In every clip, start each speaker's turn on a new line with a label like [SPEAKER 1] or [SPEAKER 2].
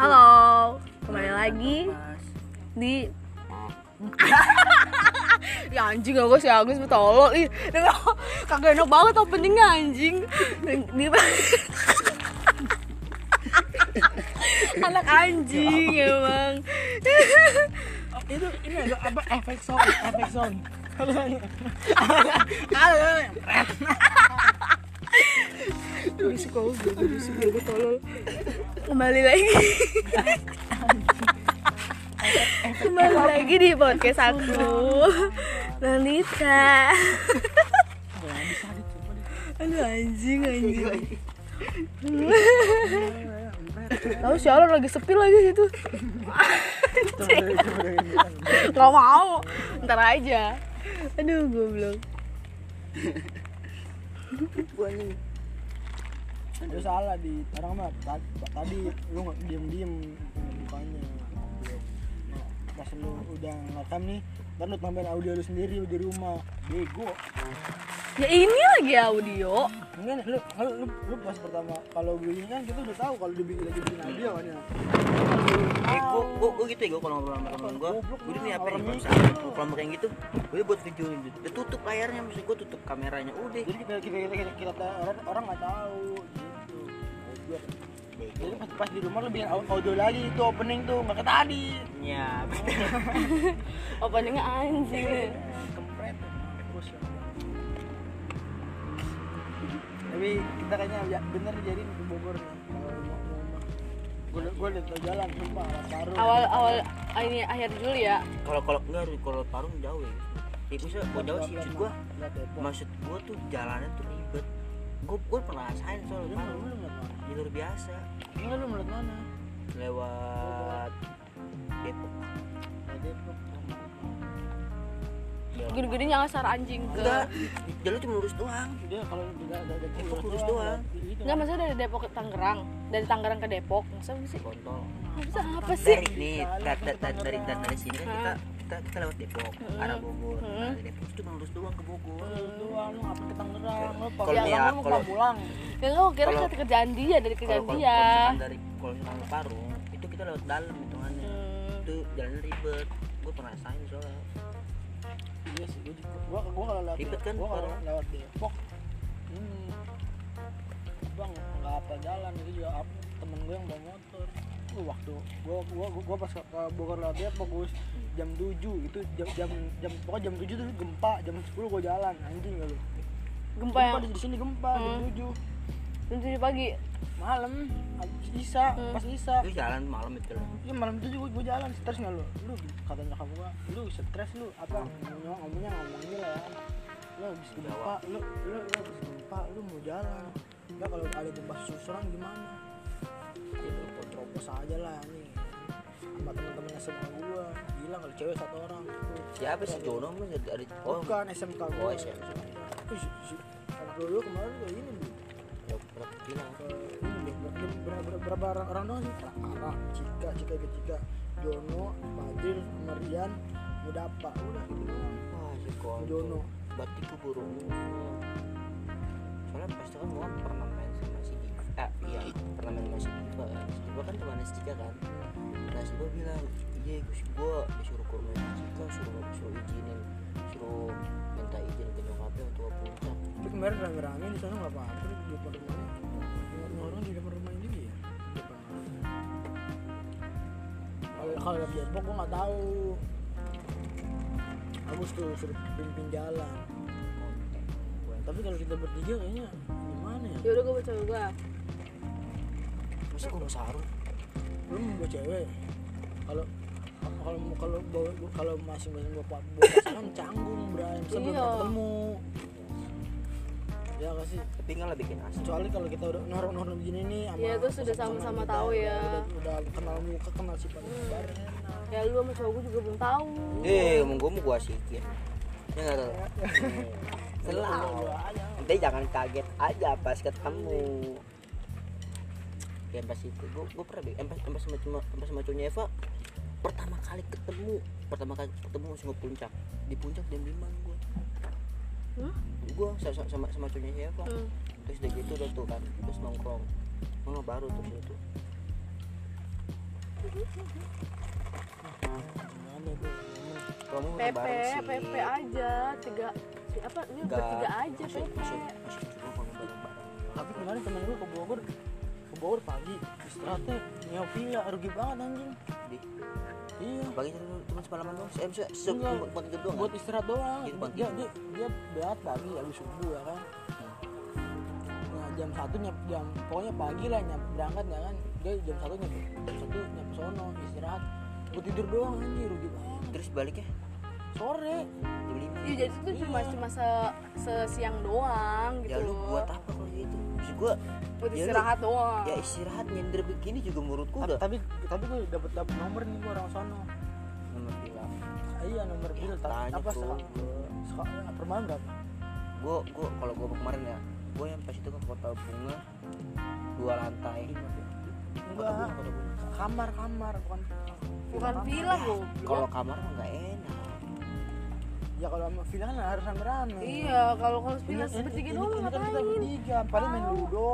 [SPEAKER 1] Halo, kembali lagi di ya anjing aku si Agus betolol ih dan aku- kagak enak banget openingnya anjing di anak anjing emang
[SPEAKER 2] itu ini ada apa efek sound efek sound
[SPEAKER 1] gue suka gue gue suka gue tolol kembali lagi kembali lagi di podcast aku Lolita aduh anjing anjing Tahu sialan lagi sepi lagi gitu. Nggak mau. Ntar aja. Aduh, goblok.
[SPEAKER 2] itu salah di orang mah tadi, tadi lu nggak diem diem mukanya Nah, pas lu udah ngerekam nih ntar lu tambahin audio lu sendiri di rumah bego
[SPEAKER 1] Ya ini lagi audio.
[SPEAKER 2] mungkin lu kalau lu, lu pas pertama kalau gue ini kan kita udah tahu kalau dibikin lagi bikin audio kan ya
[SPEAKER 3] Eh, gua, gua, gua gitu ya, gua kalau ngobrol sama temen gua Gua udah nih apa nih, bisa Kalau kayak gitu, gua buat video Udah tutup layarnya, mesti gua tutup kameranya Udah,
[SPEAKER 2] jadi kita kita kita, kita, kita orang orang nggak tahu gitu Goblok. jadi pas, pas di rumah lu bikin au- audio lagi itu opening tuh nggak kayak tadi
[SPEAKER 3] ya betul.
[SPEAKER 1] Openingnya anjing.
[SPEAKER 2] kempret bos ya. tapi kita kayaknya ya, bener jadi ke Bogor nih gue gue udah tau jalan sumpah arah baru
[SPEAKER 1] awal awal ini akhir dulu ya
[SPEAKER 3] Kalau kalau enggak, Ruy, kalau parung jauh ya Ya misalnya, gua jauh sih, maksud gua
[SPEAKER 2] Lihat Depok.
[SPEAKER 3] Maksud gua tuh jalannya tuh ribet Gua, gua pernah rasain
[SPEAKER 2] Lu
[SPEAKER 3] soalnya
[SPEAKER 2] belum
[SPEAKER 3] parung
[SPEAKER 2] belum liat mana?
[SPEAKER 3] Jalur biasa
[SPEAKER 2] Enggak, lu belum liat mana?
[SPEAKER 3] Lewat Depok
[SPEAKER 2] Liat Depok.
[SPEAKER 3] Lewat-
[SPEAKER 1] gede-gede nyasar anjing ke
[SPEAKER 3] Enggak, jalur cuma lurus doang
[SPEAKER 2] Dia kalau tidak ada Depok,
[SPEAKER 3] Depok
[SPEAKER 2] lurus
[SPEAKER 3] lurus doang.
[SPEAKER 2] liat itu.
[SPEAKER 1] nggak maksudnya dari Depok ke Tangerang dari Tangerang ke Depok masa apa sih
[SPEAKER 3] Kontol
[SPEAKER 1] masa apa sih
[SPEAKER 3] dari nih dari dari dari, dari, dari sini kan kita kita kita lewat Depok
[SPEAKER 1] Hmm.
[SPEAKER 3] arah Bogor Nah, dari Depok cuma lurus doang ke Bogor
[SPEAKER 2] Lurus gitu doang, lu ngapain ke Tangerang? Lu
[SPEAKER 3] Kalau
[SPEAKER 2] Tangerang,
[SPEAKER 3] ya,
[SPEAKER 2] lu
[SPEAKER 3] kalau-
[SPEAKER 2] pulang.
[SPEAKER 1] ya nggak kira
[SPEAKER 3] Kalau-
[SPEAKER 1] ke kerjaan dia dari kerjaan
[SPEAKER 3] kalau kalau
[SPEAKER 1] dia
[SPEAKER 3] misalkan dari kalau misalkan ke Parung itu kita lewat dalam hitungannya
[SPEAKER 1] Hmm.
[SPEAKER 3] itu jalannya ribet gue pernah rasain soalnya
[SPEAKER 2] Iya sih, gua juga- gua gua kalau lewat
[SPEAKER 3] Ribet kan,
[SPEAKER 2] gua kalau
[SPEAKER 3] parah.
[SPEAKER 2] lewat Depok ini bang nggak apa jalan itu juga apa temen gue yang bawa motor Gua waktu gua gua gua, gua pas ke ke Bogor lewat Depok gua jam 7 itu jam jam jam pokoknya jam 7 tuh gempa jam 10 gua jalan anjing gak lu
[SPEAKER 1] gempa ya? yang
[SPEAKER 2] gempa di sini gempa jam 7
[SPEAKER 1] jam tujuh pagi
[SPEAKER 2] malam abis isa pas isa
[SPEAKER 3] itu jalan malam itu loh
[SPEAKER 2] Iya malam itu juga gue jalan stres nggak lu? Lu kata nyokap gua, lu stres lu apa? Ngomong ngomongnya ngomongnya lah ya. Lu habis gempa, lu lu lu habis gempa, lu mau jalan. Enggak kalau ada gempa susulan gimana? Ya lu potropos aja lah nih. Sama teman-teman SMA gua, bilang kalau cewek satu orang. gitu.
[SPEAKER 3] siapa sih Jono mas ada ada- oh
[SPEAKER 2] Bukan SMK gua.
[SPEAKER 3] Oh, SMK.
[SPEAKER 2] Ih, si- si- Anak lu lu kemarin kayak ini nih
[SPEAKER 3] ya pernah bilang
[SPEAKER 2] ke ini deh, ber- ber- ber- ber- berapa orang, orang doang sih Pak Ara, Cika, Cika itu Cika, Jono, Fadil, Marian, Mudapa, udah gitu doang.
[SPEAKER 3] wah si kontol
[SPEAKER 2] Jono.
[SPEAKER 3] batiku burung soalnya pas itu kan gua pernah main sama si Diva ah iya pernah main sama si Diva si Diva kan temannya si Cika kan nah si Diva bilang iya gue sih gue disuruh ke rumah si Cika suruh suruh izinin suruh minta izin ke nyokapnya untuk ke puncak
[SPEAKER 2] Tapi kemarin rame-rame di sana nggak apa-apa, di depan rumahnya. Nggak- Orang di depan rumah ini ya. Depan rumahnya. Kalau kalau di Depok gua nggak tahu. Agus tuh suruh pimpin jalan. Tapi kalau kita bertiga kayaknya gimana ya?
[SPEAKER 1] ya udah gue baca gue
[SPEAKER 3] masa gue mau sarung
[SPEAKER 2] lu mau bawa cewek kalau kalau mau- kalau bawa kalau masing-masing bawa bawa pasangan canggung bray sebelum
[SPEAKER 1] Iya.
[SPEAKER 2] ketemu ya nggak sih
[SPEAKER 3] tapi nggak lah bikin asli
[SPEAKER 2] kecuali kalau kita udah norok norok begini nih sama
[SPEAKER 1] Iya, terus udah
[SPEAKER 2] pasangan
[SPEAKER 1] sama-sama
[SPEAKER 2] kita,
[SPEAKER 1] tahu
[SPEAKER 2] udah-
[SPEAKER 1] ya.
[SPEAKER 2] udah, udah kenal muka kenal sifat bareng enak.
[SPEAKER 1] ya lu sama cowok gue juga belum tahu
[SPEAKER 3] eh ngomong gue mau gue asikin ya nggak tahu selalu
[SPEAKER 2] Dua aja
[SPEAKER 3] Nanti jangan kaget aja pas ketemu. Ya pas itu gue gue pernah deh, empas empas sama cuma empas sama cowoknya Eva pertama kali ketemu pertama kali ketemu langsung ke puncak di puncak jam lima gue
[SPEAKER 1] Hah?
[SPEAKER 3] gue sama sama sama cowoknya Eva
[SPEAKER 1] Hmm.
[SPEAKER 3] terus udah gitu udah tuh kan terus nongkrong nongkrong baru terus itu
[SPEAKER 2] Gimana itu? Gimana?
[SPEAKER 3] kamu
[SPEAKER 1] PP,
[SPEAKER 3] lebaran sih
[SPEAKER 1] PP aja, tiga, ti- apa, ini
[SPEAKER 3] Enggak.
[SPEAKER 1] bertiga aja,
[SPEAKER 3] Maksud-
[SPEAKER 1] PP.
[SPEAKER 3] maksud maksud juga kamu bareng-bareng
[SPEAKER 2] Tapi kemarin temen gue ke Bogor ke Bogor pagi istirahatnya nyewa villa rugi banget anjing
[SPEAKER 3] Di-
[SPEAKER 2] iya
[SPEAKER 3] bagi teman sepalaman dong eh bisa se-
[SPEAKER 2] Enggak.
[SPEAKER 3] buat buat itu doang
[SPEAKER 2] buat
[SPEAKER 3] kan?
[SPEAKER 2] istirahat doang
[SPEAKER 3] Jadi buat
[SPEAKER 2] dia
[SPEAKER 3] tidur.
[SPEAKER 2] dia dia berangkat pagi habis subuh ya kan nah jam satu nyap jam pokoknya pagi lah nyap berangkat ya kan dia jam satu nyap jam satu nyap sono istirahat gue tidur doang anjir rugi banget
[SPEAKER 3] terus baliknya
[SPEAKER 2] sore
[SPEAKER 3] jam lima
[SPEAKER 1] Iya, jadi itu cuma
[SPEAKER 2] Iya.
[SPEAKER 1] cuma se sesiang doang
[SPEAKER 3] ya
[SPEAKER 1] gitu
[SPEAKER 3] lu
[SPEAKER 1] loh.
[SPEAKER 3] buat apa kalau gitu maksud gua
[SPEAKER 1] Buat
[SPEAKER 3] ya lu-
[SPEAKER 1] istirahat doang.
[SPEAKER 3] ya istirahat nyender begini juga menurutku udah
[SPEAKER 2] tapi tapi gue dapet dapet nomor nih gue orang sono
[SPEAKER 3] nomor gila
[SPEAKER 2] Ah, iya nomor
[SPEAKER 3] Ya,
[SPEAKER 2] bil
[SPEAKER 3] tanya
[SPEAKER 2] tapi apa
[SPEAKER 3] tuh.
[SPEAKER 2] sekarang sekarang per malam berapa
[SPEAKER 3] gua gua kalau gua kemarin ya gua yang pas itu ke kota bunga dua lantai
[SPEAKER 1] Iya.
[SPEAKER 3] Kota bunga,
[SPEAKER 2] enggak
[SPEAKER 3] kota bunga.
[SPEAKER 2] kamar kamar bukan
[SPEAKER 1] Bukan villa goblok.
[SPEAKER 3] kalau kamar mah nggak enak
[SPEAKER 2] ya kalau sama villa kan harus rame-rame
[SPEAKER 1] Iya, kalau kalau villa
[SPEAKER 2] Ini-
[SPEAKER 1] sepertiga
[SPEAKER 2] ini-
[SPEAKER 1] doang
[SPEAKER 2] ini kan kita
[SPEAKER 1] ngapain?
[SPEAKER 2] bertiga paling main
[SPEAKER 1] Tahu.
[SPEAKER 2] ludo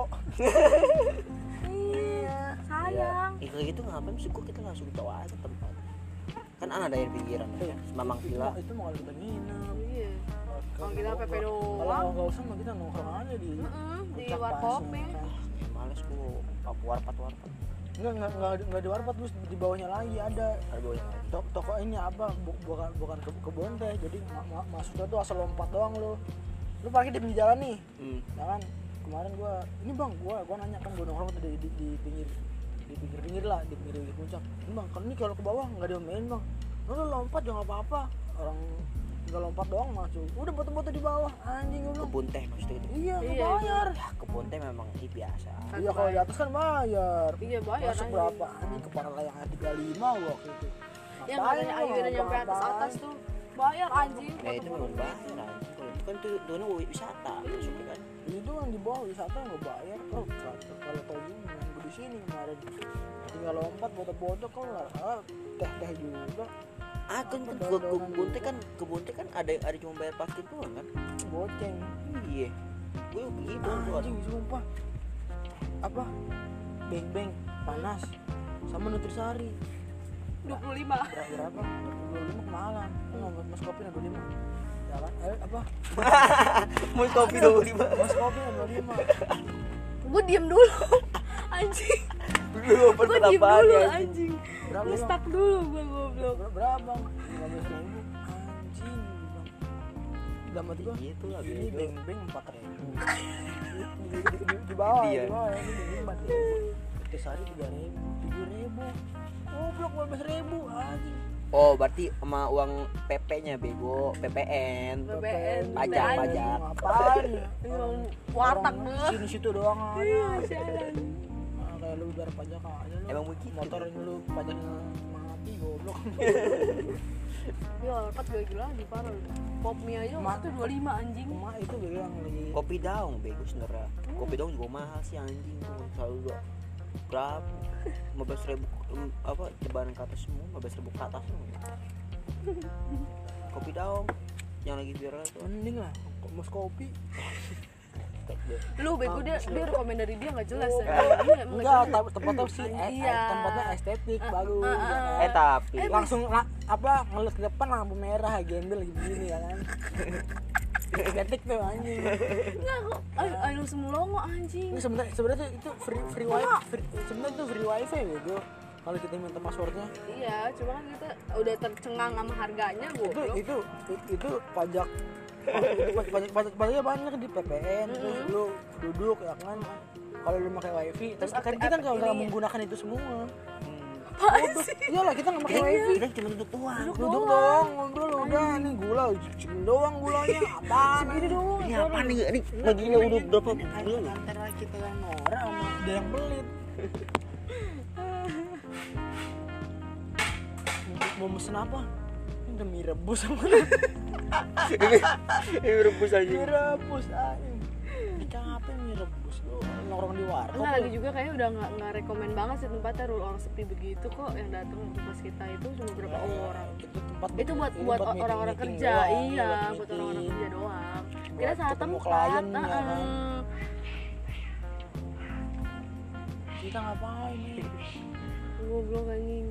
[SPEAKER 1] Iya, sayang.
[SPEAKER 3] ya, kayak gitu ngapain sih gua kita langsung tahu aja tempat kan anak ada yang pikiran ya mamang villa
[SPEAKER 2] itu mau kalau kita nginep
[SPEAKER 1] Iya. Kalau kita
[SPEAKER 2] nggak-
[SPEAKER 1] PP
[SPEAKER 2] nggak-
[SPEAKER 1] doang.
[SPEAKER 2] kalau nggak usah mah kita nongkrong aja di
[SPEAKER 1] Mm-mm, di
[SPEAKER 2] puncak
[SPEAKER 1] warkop
[SPEAKER 2] pasir,
[SPEAKER 1] ya.
[SPEAKER 2] kan.
[SPEAKER 3] ya males gua aku warpat warpat
[SPEAKER 2] Nggak, nggak nggak di- nggak di warpat terus di bawahnya lagi ada
[SPEAKER 3] kalau yang lain
[SPEAKER 2] to- toko ini apa bu- bukan bukan ke kebun teh jadi ma- ma- masuknya tuh asal lompat doang lo lu parkir di pinggir jalan nih
[SPEAKER 3] hmm.
[SPEAKER 2] ya kan kemarin gua ini bang gua gua nanya kan gua nongkrong tuh di, di, di pinggir di pinggir pinggir lah di pinggir pinggir puncak ini bang kan ini kalau ke bawah nggak diomelin bang lu lu lompat jangan apa apa orang nggak lompat doang masuk udah batu-batu di bawah anjing gua bilang
[SPEAKER 3] kebun teh maksudnya gitu
[SPEAKER 2] iya nggak
[SPEAKER 1] Iya.
[SPEAKER 2] bayar
[SPEAKER 3] ya kebun teh memang ini biasa
[SPEAKER 1] Kan
[SPEAKER 2] iya kalau di atas kan bayar
[SPEAKER 1] Iya, bayar,
[SPEAKER 2] masuk
[SPEAKER 1] anjing.
[SPEAKER 2] berapa anjing kepala layang 35 gua waktu itu
[SPEAKER 1] Yang katanya
[SPEAKER 2] Ngapain lu,
[SPEAKER 1] ayunan nyampe
[SPEAKER 2] ngapain?
[SPEAKER 1] atas atas tuh bayar anjing.
[SPEAKER 2] Eh,
[SPEAKER 3] ya itu memang
[SPEAKER 1] foto-foto.
[SPEAKER 3] bahaya anjing. kalau itu kan tuh dulu wisata maksudnya kan
[SPEAKER 2] itu yang di bawah wisata nggak bayar oh kalau- kalau tau gini yang gue di sini kemarin tinggal lompat foto-foto kok nggak ah, teh teh juga
[SPEAKER 3] ah kan ke, ke, ke kebun teh kan kebun teh kan ada ada cuma bayar parkir doang kan Ah,
[SPEAKER 2] goceng
[SPEAKER 3] iya gue begitu tuh
[SPEAKER 2] anjing sumpah apa beng beng panas sama nutrisari
[SPEAKER 1] 25.
[SPEAKER 2] berapa berapa dua lima kemahalan nggak mas, mas kopi dua lima ya kan eh, apa
[SPEAKER 3] mau kopi dua lima
[SPEAKER 2] mas kopi dua lima
[SPEAKER 1] Gue diem dulu. Anjing.
[SPEAKER 3] belum
[SPEAKER 1] Gue diem dulu anjing.
[SPEAKER 2] Berapa,
[SPEAKER 1] Gue
[SPEAKER 2] Bang?
[SPEAKER 1] stuck dulu gue goblok.
[SPEAKER 2] berapa bang lima belas ribu anjing Bang. dalam hati gua
[SPEAKER 3] gitu lah
[SPEAKER 2] ini
[SPEAKER 3] bego
[SPEAKER 2] beng beng empat ribu di, di, di, di bawah
[SPEAKER 3] Iya.
[SPEAKER 2] di bawah ini beng empat ribu itu sehari tiga ribu tujuh ribu goblok dua belas ribu anjing
[SPEAKER 3] oh berarti sama uang PP nya bego PPN
[SPEAKER 1] BBN.
[SPEAKER 3] Pajak,
[SPEAKER 1] anjing.
[SPEAKER 3] pajak.
[SPEAKER 2] ngapain ya?
[SPEAKER 1] Orang watak gue.
[SPEAKER 2] sini situ doang
[SPEAKER 1] Iya,
[SPEAKER 2] aja
[SPEAKER 1] sialan.
[SPEAKER 2] Nah, kayak lu biar pajak aja lu
[SPEAKER 3] Emang begitu?
[SPEAKER 2] motor ini lu pajaknya mati goblok
[SPEAKER 1] Ya, lepas gue gila lagi parah. lu. Pop mie aja
[SPEAKER 2] Ma-
[SPEAKER 1] waktu 25 anjing.
[SPEAKER 2] emak itu gue bilang lagi
[SPEAKER 3] kopi daun bego sebenernya kopi daun juga mahal sih anjing tuh selalu dua berapa lima belas ribu apa cebaran ke atas semua lima belas ribu ke atas semua kopi daun yang lagi viral tuh
[SPEAKER 2] mending lah kok mas kopi
[SPEAKER 1] Lu bego dia
[SPEAKER 2] Bagus, Oh,
[SPEAKER 1] dia rekomend dari dia enggak jelas ya. Iya, emang nggak
[SPEAKER 2] enggak
[SPEAKER 1] jelas.
[SPEAKER 2] tem- tempatnya sih eh,
[SPEAKER 1] Iya.
[SPEAKER 2] tempatnya estetik bagus
[SPEAKER 1] eh,
[SPEAKER 2] ya kan?
[SPEAKER 3] eh tapi
[SPEAKER 1] Eh,
[SPEAKER 2] langsung la- apa ngeliat ke depan lampu merah gendel lagi begini ya kan estetik tuh anjing
[SPEAKER 1] Enggak kok. Ay, ay lu semulongo anjing.
[SPEAKER 2] ini sebenarnya sebenarnya tuh itu free free wifi free- sebenarnya tuh free wifi bego kalau kita minta passwordnya
[SPEAKER 1] Iya, cuma kan kita udah tercengang sama harganya
[SPEAKER 2] itu
[SPEAKER 1] goblok.
[SPEAKER 2] itu itu, itu pajak oh, itu pajak pajak pajak pajaknya banyak di PPN terus lu duduk ya kan kalau lu pakai wifi terus
[SPEAKER 1] Terus
[SPEAKER 2] kan
[SPEAKER 1] aktif-
[SPEAKER 2] kita nggak usah
[SPEAKER 1] ini-
[SPEAKER 2] menggunakan itu semua
[SPEAKER 1] Apaan sih?
[SPEAKER 2] iya lah kita nggak pakai wifi
[SPEAKER 3] kita cuma duduk doang
[SPEAKER 2] duduk doang ngobrol udah
[SPEAKER 1] Hmm.
[SPEAKER 2] nih gula segini doang gulanya apaan
[SPEAKER 1] Gini doang.
[SPEAKER 3] ini apa nih ini begini udah berapa bulan
[SPEAKER 2] antara kita yang norak sama dia ya? yang pelit Mau- mau mesen apa Ini udah mie rebus sama
[SPEAKER 3] ini rebus aja
[SPEAKER 2] mie rebus anjing capek mie rebus lu nongkrong di warkop
[SPEAKER 1] Enggak lagi juga kayaknya udah nggak nggak rekomend banget sih tempatnya rul orang sepi begitu kok yang datang waktu pas kita itu cuma berapa orang.
[SPEAKER 2] itu tempat
[SPEAKER 1] Itu buat
[SPEAKER 2] ini
[SPEAKER 1] buat
[SPEAKER 2] meeting-
[SPEAKER 1] orang-orang
[SPEAKER 2] meeting
[SPEAKER 1] kerja,
[SPEAKER 2] doang,
[SPEAKER 1] iya, buat orang-orang
[SPEAKER 2] meeting.
[SPEAKER 1] kerja doang.
[SPEAKER 2] Buat
[SPEAKER 1] Kita salah
[SPEAKER 2] ketemu
[SPEAKER 1] tempat.
[SPEAKER 2] klien, ya
[SPEAKER 1] heeh.
[SPEAKER 2] kan? kita ngapain nih
[SPEAKER 1] goblok anjing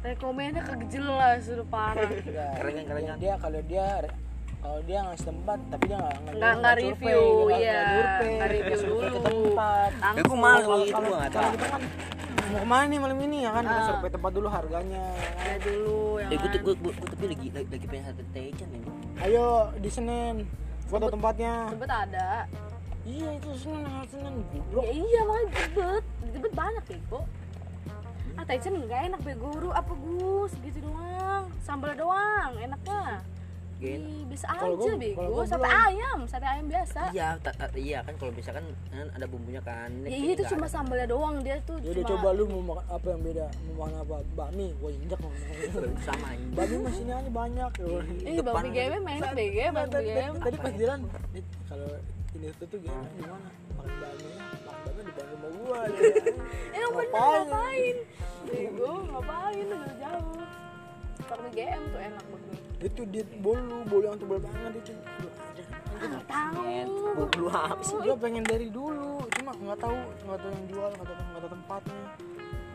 [SPEAKER 1] rekomennya kagak jelas udah parah
[SPEAKER 2] Ya,
[SPEAKER 3] Kerengan, kerengan.
[SPEAKER 2] dia kalau dia kalau dia ngasih tempat tapi dia nggak gitu,
[SPEAKER 1] nggak nggak review ya nggak review
[SPEAKER 2] ke
[SPEAKER 1] dulu
[SPEAKER 2] tempat
[SPEAKER 3] Ya, gua
[SPEAKER 1] langsung
[SPEAKER 3] malas kalau gitu gua nggak
[SPEAKER 2] kalau
[SPEAKER 3] tahu.
[SPEAKER 2] kita kan mau kemana nih malam ini ya kan kita
[SPEAKER 1] Ah.
[SPEAKER 2] survei tempat dulu harganya ya kan?
[SPEAKER 1] ya dulu ya
[SPEAKER 3] Eh gue
[SPEAKER 1] kan.
[SPEAKER 3] tuh gue gue gue tapi lagi lagi, lagi pengen sate taichan ya gua.
[SPEAKER 2] ayo di Senin gua tau tempatnya
[SPEAKER 1] Tebet ada
[SPEAKER 2] iya itu Senin hari Senin
[SPEAKER 1] ya
[SPEAKER 2] goblok
[SPEAKER 1] iya makanya di tebet di tebet banyak bego ah Taichan nggak enak bego guru apa gus gitu doang sambal doang enaknya
[SPEAKER 3] Gak enak.
[SPEAKER 1] Ih, biasa
[SPEAKER 2] Kalau
[SPEAKER 1] aja
[SPEAKER 2] gua- kalau
[SPEAKER 1] bego
[SPEAKER 2] gua
[SPEAKER 1] sate
[SPEAKER 2] belum.
[SPEAKER 1] ayam sate ayam biasa
[SPEAKER 3] Iya, ta- ta- iya kan kalau biasa kan kan ada bumbunya kan. Ini
[SPEAKER 1] ya Ah.
[SPEAKER 3] kayak
[SPEAKER 1] iya itu
[SPEAKER 3] nggak
[SPEAKER 1] cuma
[SPEAKER 3] ada.
[SPEAKER 1] sambalnya doang dia tuh
[SPEAKER 2] ya udah
[SPEAKER 1] Iya, cuma
[SPEAKER 2] coba lu mau makan apa yang beda mau makan apa bakmi gua injak mau
[SPEAKER 3] sama anjing.
[SPEAKER 2] bakmi masih aja banyak ya Allah.
[SPEAKER 1] Ih,
[SPEAKER 3] depan.
[SPEAKER 1] Bang BGM enak deh, gue Bang
[SPEAKER 2] Nah, Tadi-
[SPEAKER 1] BGM.
[SPEAKER 2] tadi- tadi pas jalan "Dit, kalau ini tuh tuh gimana gimana makan bakmi makan bakmi di depan rumah gua ya.
[SPEAKER 1] Emang bener
[SPEAKER 2] Ngapain?
[SPEAKER 1] Eh, ngapain? Bego, ngapain lu jauh-jauh? Bang BGM tuh enak banget.
[SPEAKER 2] itu dia bolu bolu yang tebal banget itu
[SPEAKER 1] Nggak tahu.
[SPEAKER 3] Net, bumbu apa sih?
[SPEAKER 2] gua pengen dari dulu cuma nggak tahu nggak tahu yang jual nggak tahu nggak tahu tempatnya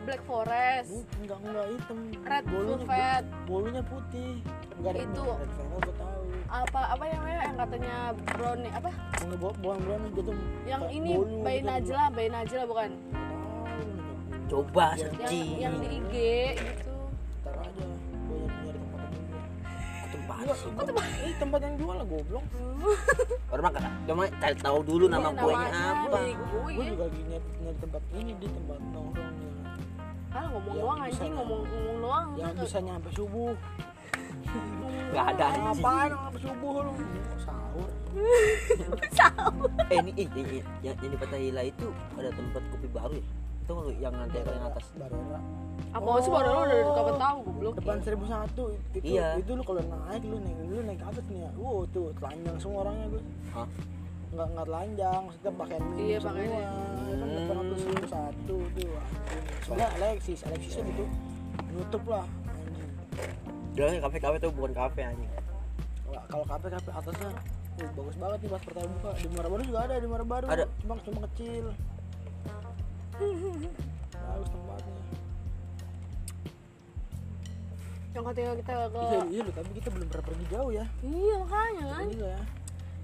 [SPEAKER 1] Black Forest.
[SPEAKER 2] Bu- nggak nggak hitam
[SPEAKER 1] Red
[SPEAKER 2] bolunya
[SPEAKER 1] Velvet.
[SPEAKER 2] bolunya putih nggak ada
[SPEAKER 1] Itu.
[SPEAKER 2] red velvet gua tahu
[SPEAKER 1] Apa apa yang yang katanya brownie apa?
[SPEAKER 2] Bunga bo- bukan bukan gitu
[SPEAKER 1] Yang ini Bayi Najla, Bayi Najla bukan?
[SPEAKER 3] Coba
[SPEAKER 1] Yang
[SPEAKER 3] searching.
[SPEAKER 1] yang di IG gitu.
[SPEAKER 2] Ntar aja gua nyari tempat yang dulu.
[SPEAKER 3] tempat
[SPEAKER 2] Enggak,
[SPEAKER 3] sih. Oh,
[SPEAKER 2] gua tempat ini tempat yang jual lah goblok
[SPEAKER 3] Orang mah kata, cuma cari tahu dulu nama
[SPEAKER 1] Iya,
[SPEAKER 3] kuenya
[SPEAKER 1] namanya,
[SPEAKER 3] apa.
[SPEAKER 1] bego,
[SPEAKER 2] gua
[SPEAKER 1] iya.
[SPEAKER 2] juga lagi nyari, nyari tempat ini di tempat nongkrong ya.
[SPEAKER 3] Oh,
[SPEAKER 1] Ah, ngomong
[SPEAKER 2] Yang
[SPEAKER 1] doang
[SPEAKER 2] Ya, bisa-
[SPEAKER 1] anjing, ngomong ngomong doang.
[SPEAKER 2] yang bisa nyampe subuh
[SPEAKER 3] Gak ada anjing.
[SPEAKER 2] ngapain sampai subuh lu sahur
[SPEAKER 3] Eh ini ini, ini, yang, yang di Patahila itu ada tempat kopi baru ya. Itu lu yang nanti ada yang atas.
[SPEAKER 2] Barera
[SPEAKER 1] Apa sih baru lu udah kapan tahu goblok.
[SPEAKER 2] Oh. depan 1001 itu
[SPEAKER 3] Iya.
[SPEAKER 2] itu lu kalau naik lu naik lu naik ke atas nih ya wow tuh telanjang semua orangnya gue
[SPEAKER 3] Hah?
[SPEAKER 2] nggak nggak telanjang maksudnya pakaian minim
[SPEAKER 1] Iya,
[SPEAKER 2] semua
[SPEAKER 1] pakaiannya.
[SPEAKER 2] Ya kan depan
[SPEAKER 3] Hmm.
[SPEAKER 2] atas 1001 tuh anjing. soalnya Alexis Alexis tuh gitu nutup lah anjing
[SPEAKER 3] Dia kafe-kafe itu bukan kafe anjing.
[SPEAKER 2] Wah, kalau kafe kafe atasnya uh, bagus banget nih pas pertama buka di Muara Baru juga ada di Muara Baru
[SPEAKER 3] Ada.
[SPEAKER 2] cuma cuma kecil bagus tempatnya
[SPEAKER 1] Yang katanya kita ke
[SPEAKER 2] iya iya lu tapi kita belum pernah pergi jauh ya
[SPEAKER 1] Iya makanya kan.
[SPEAKER 2] ini ya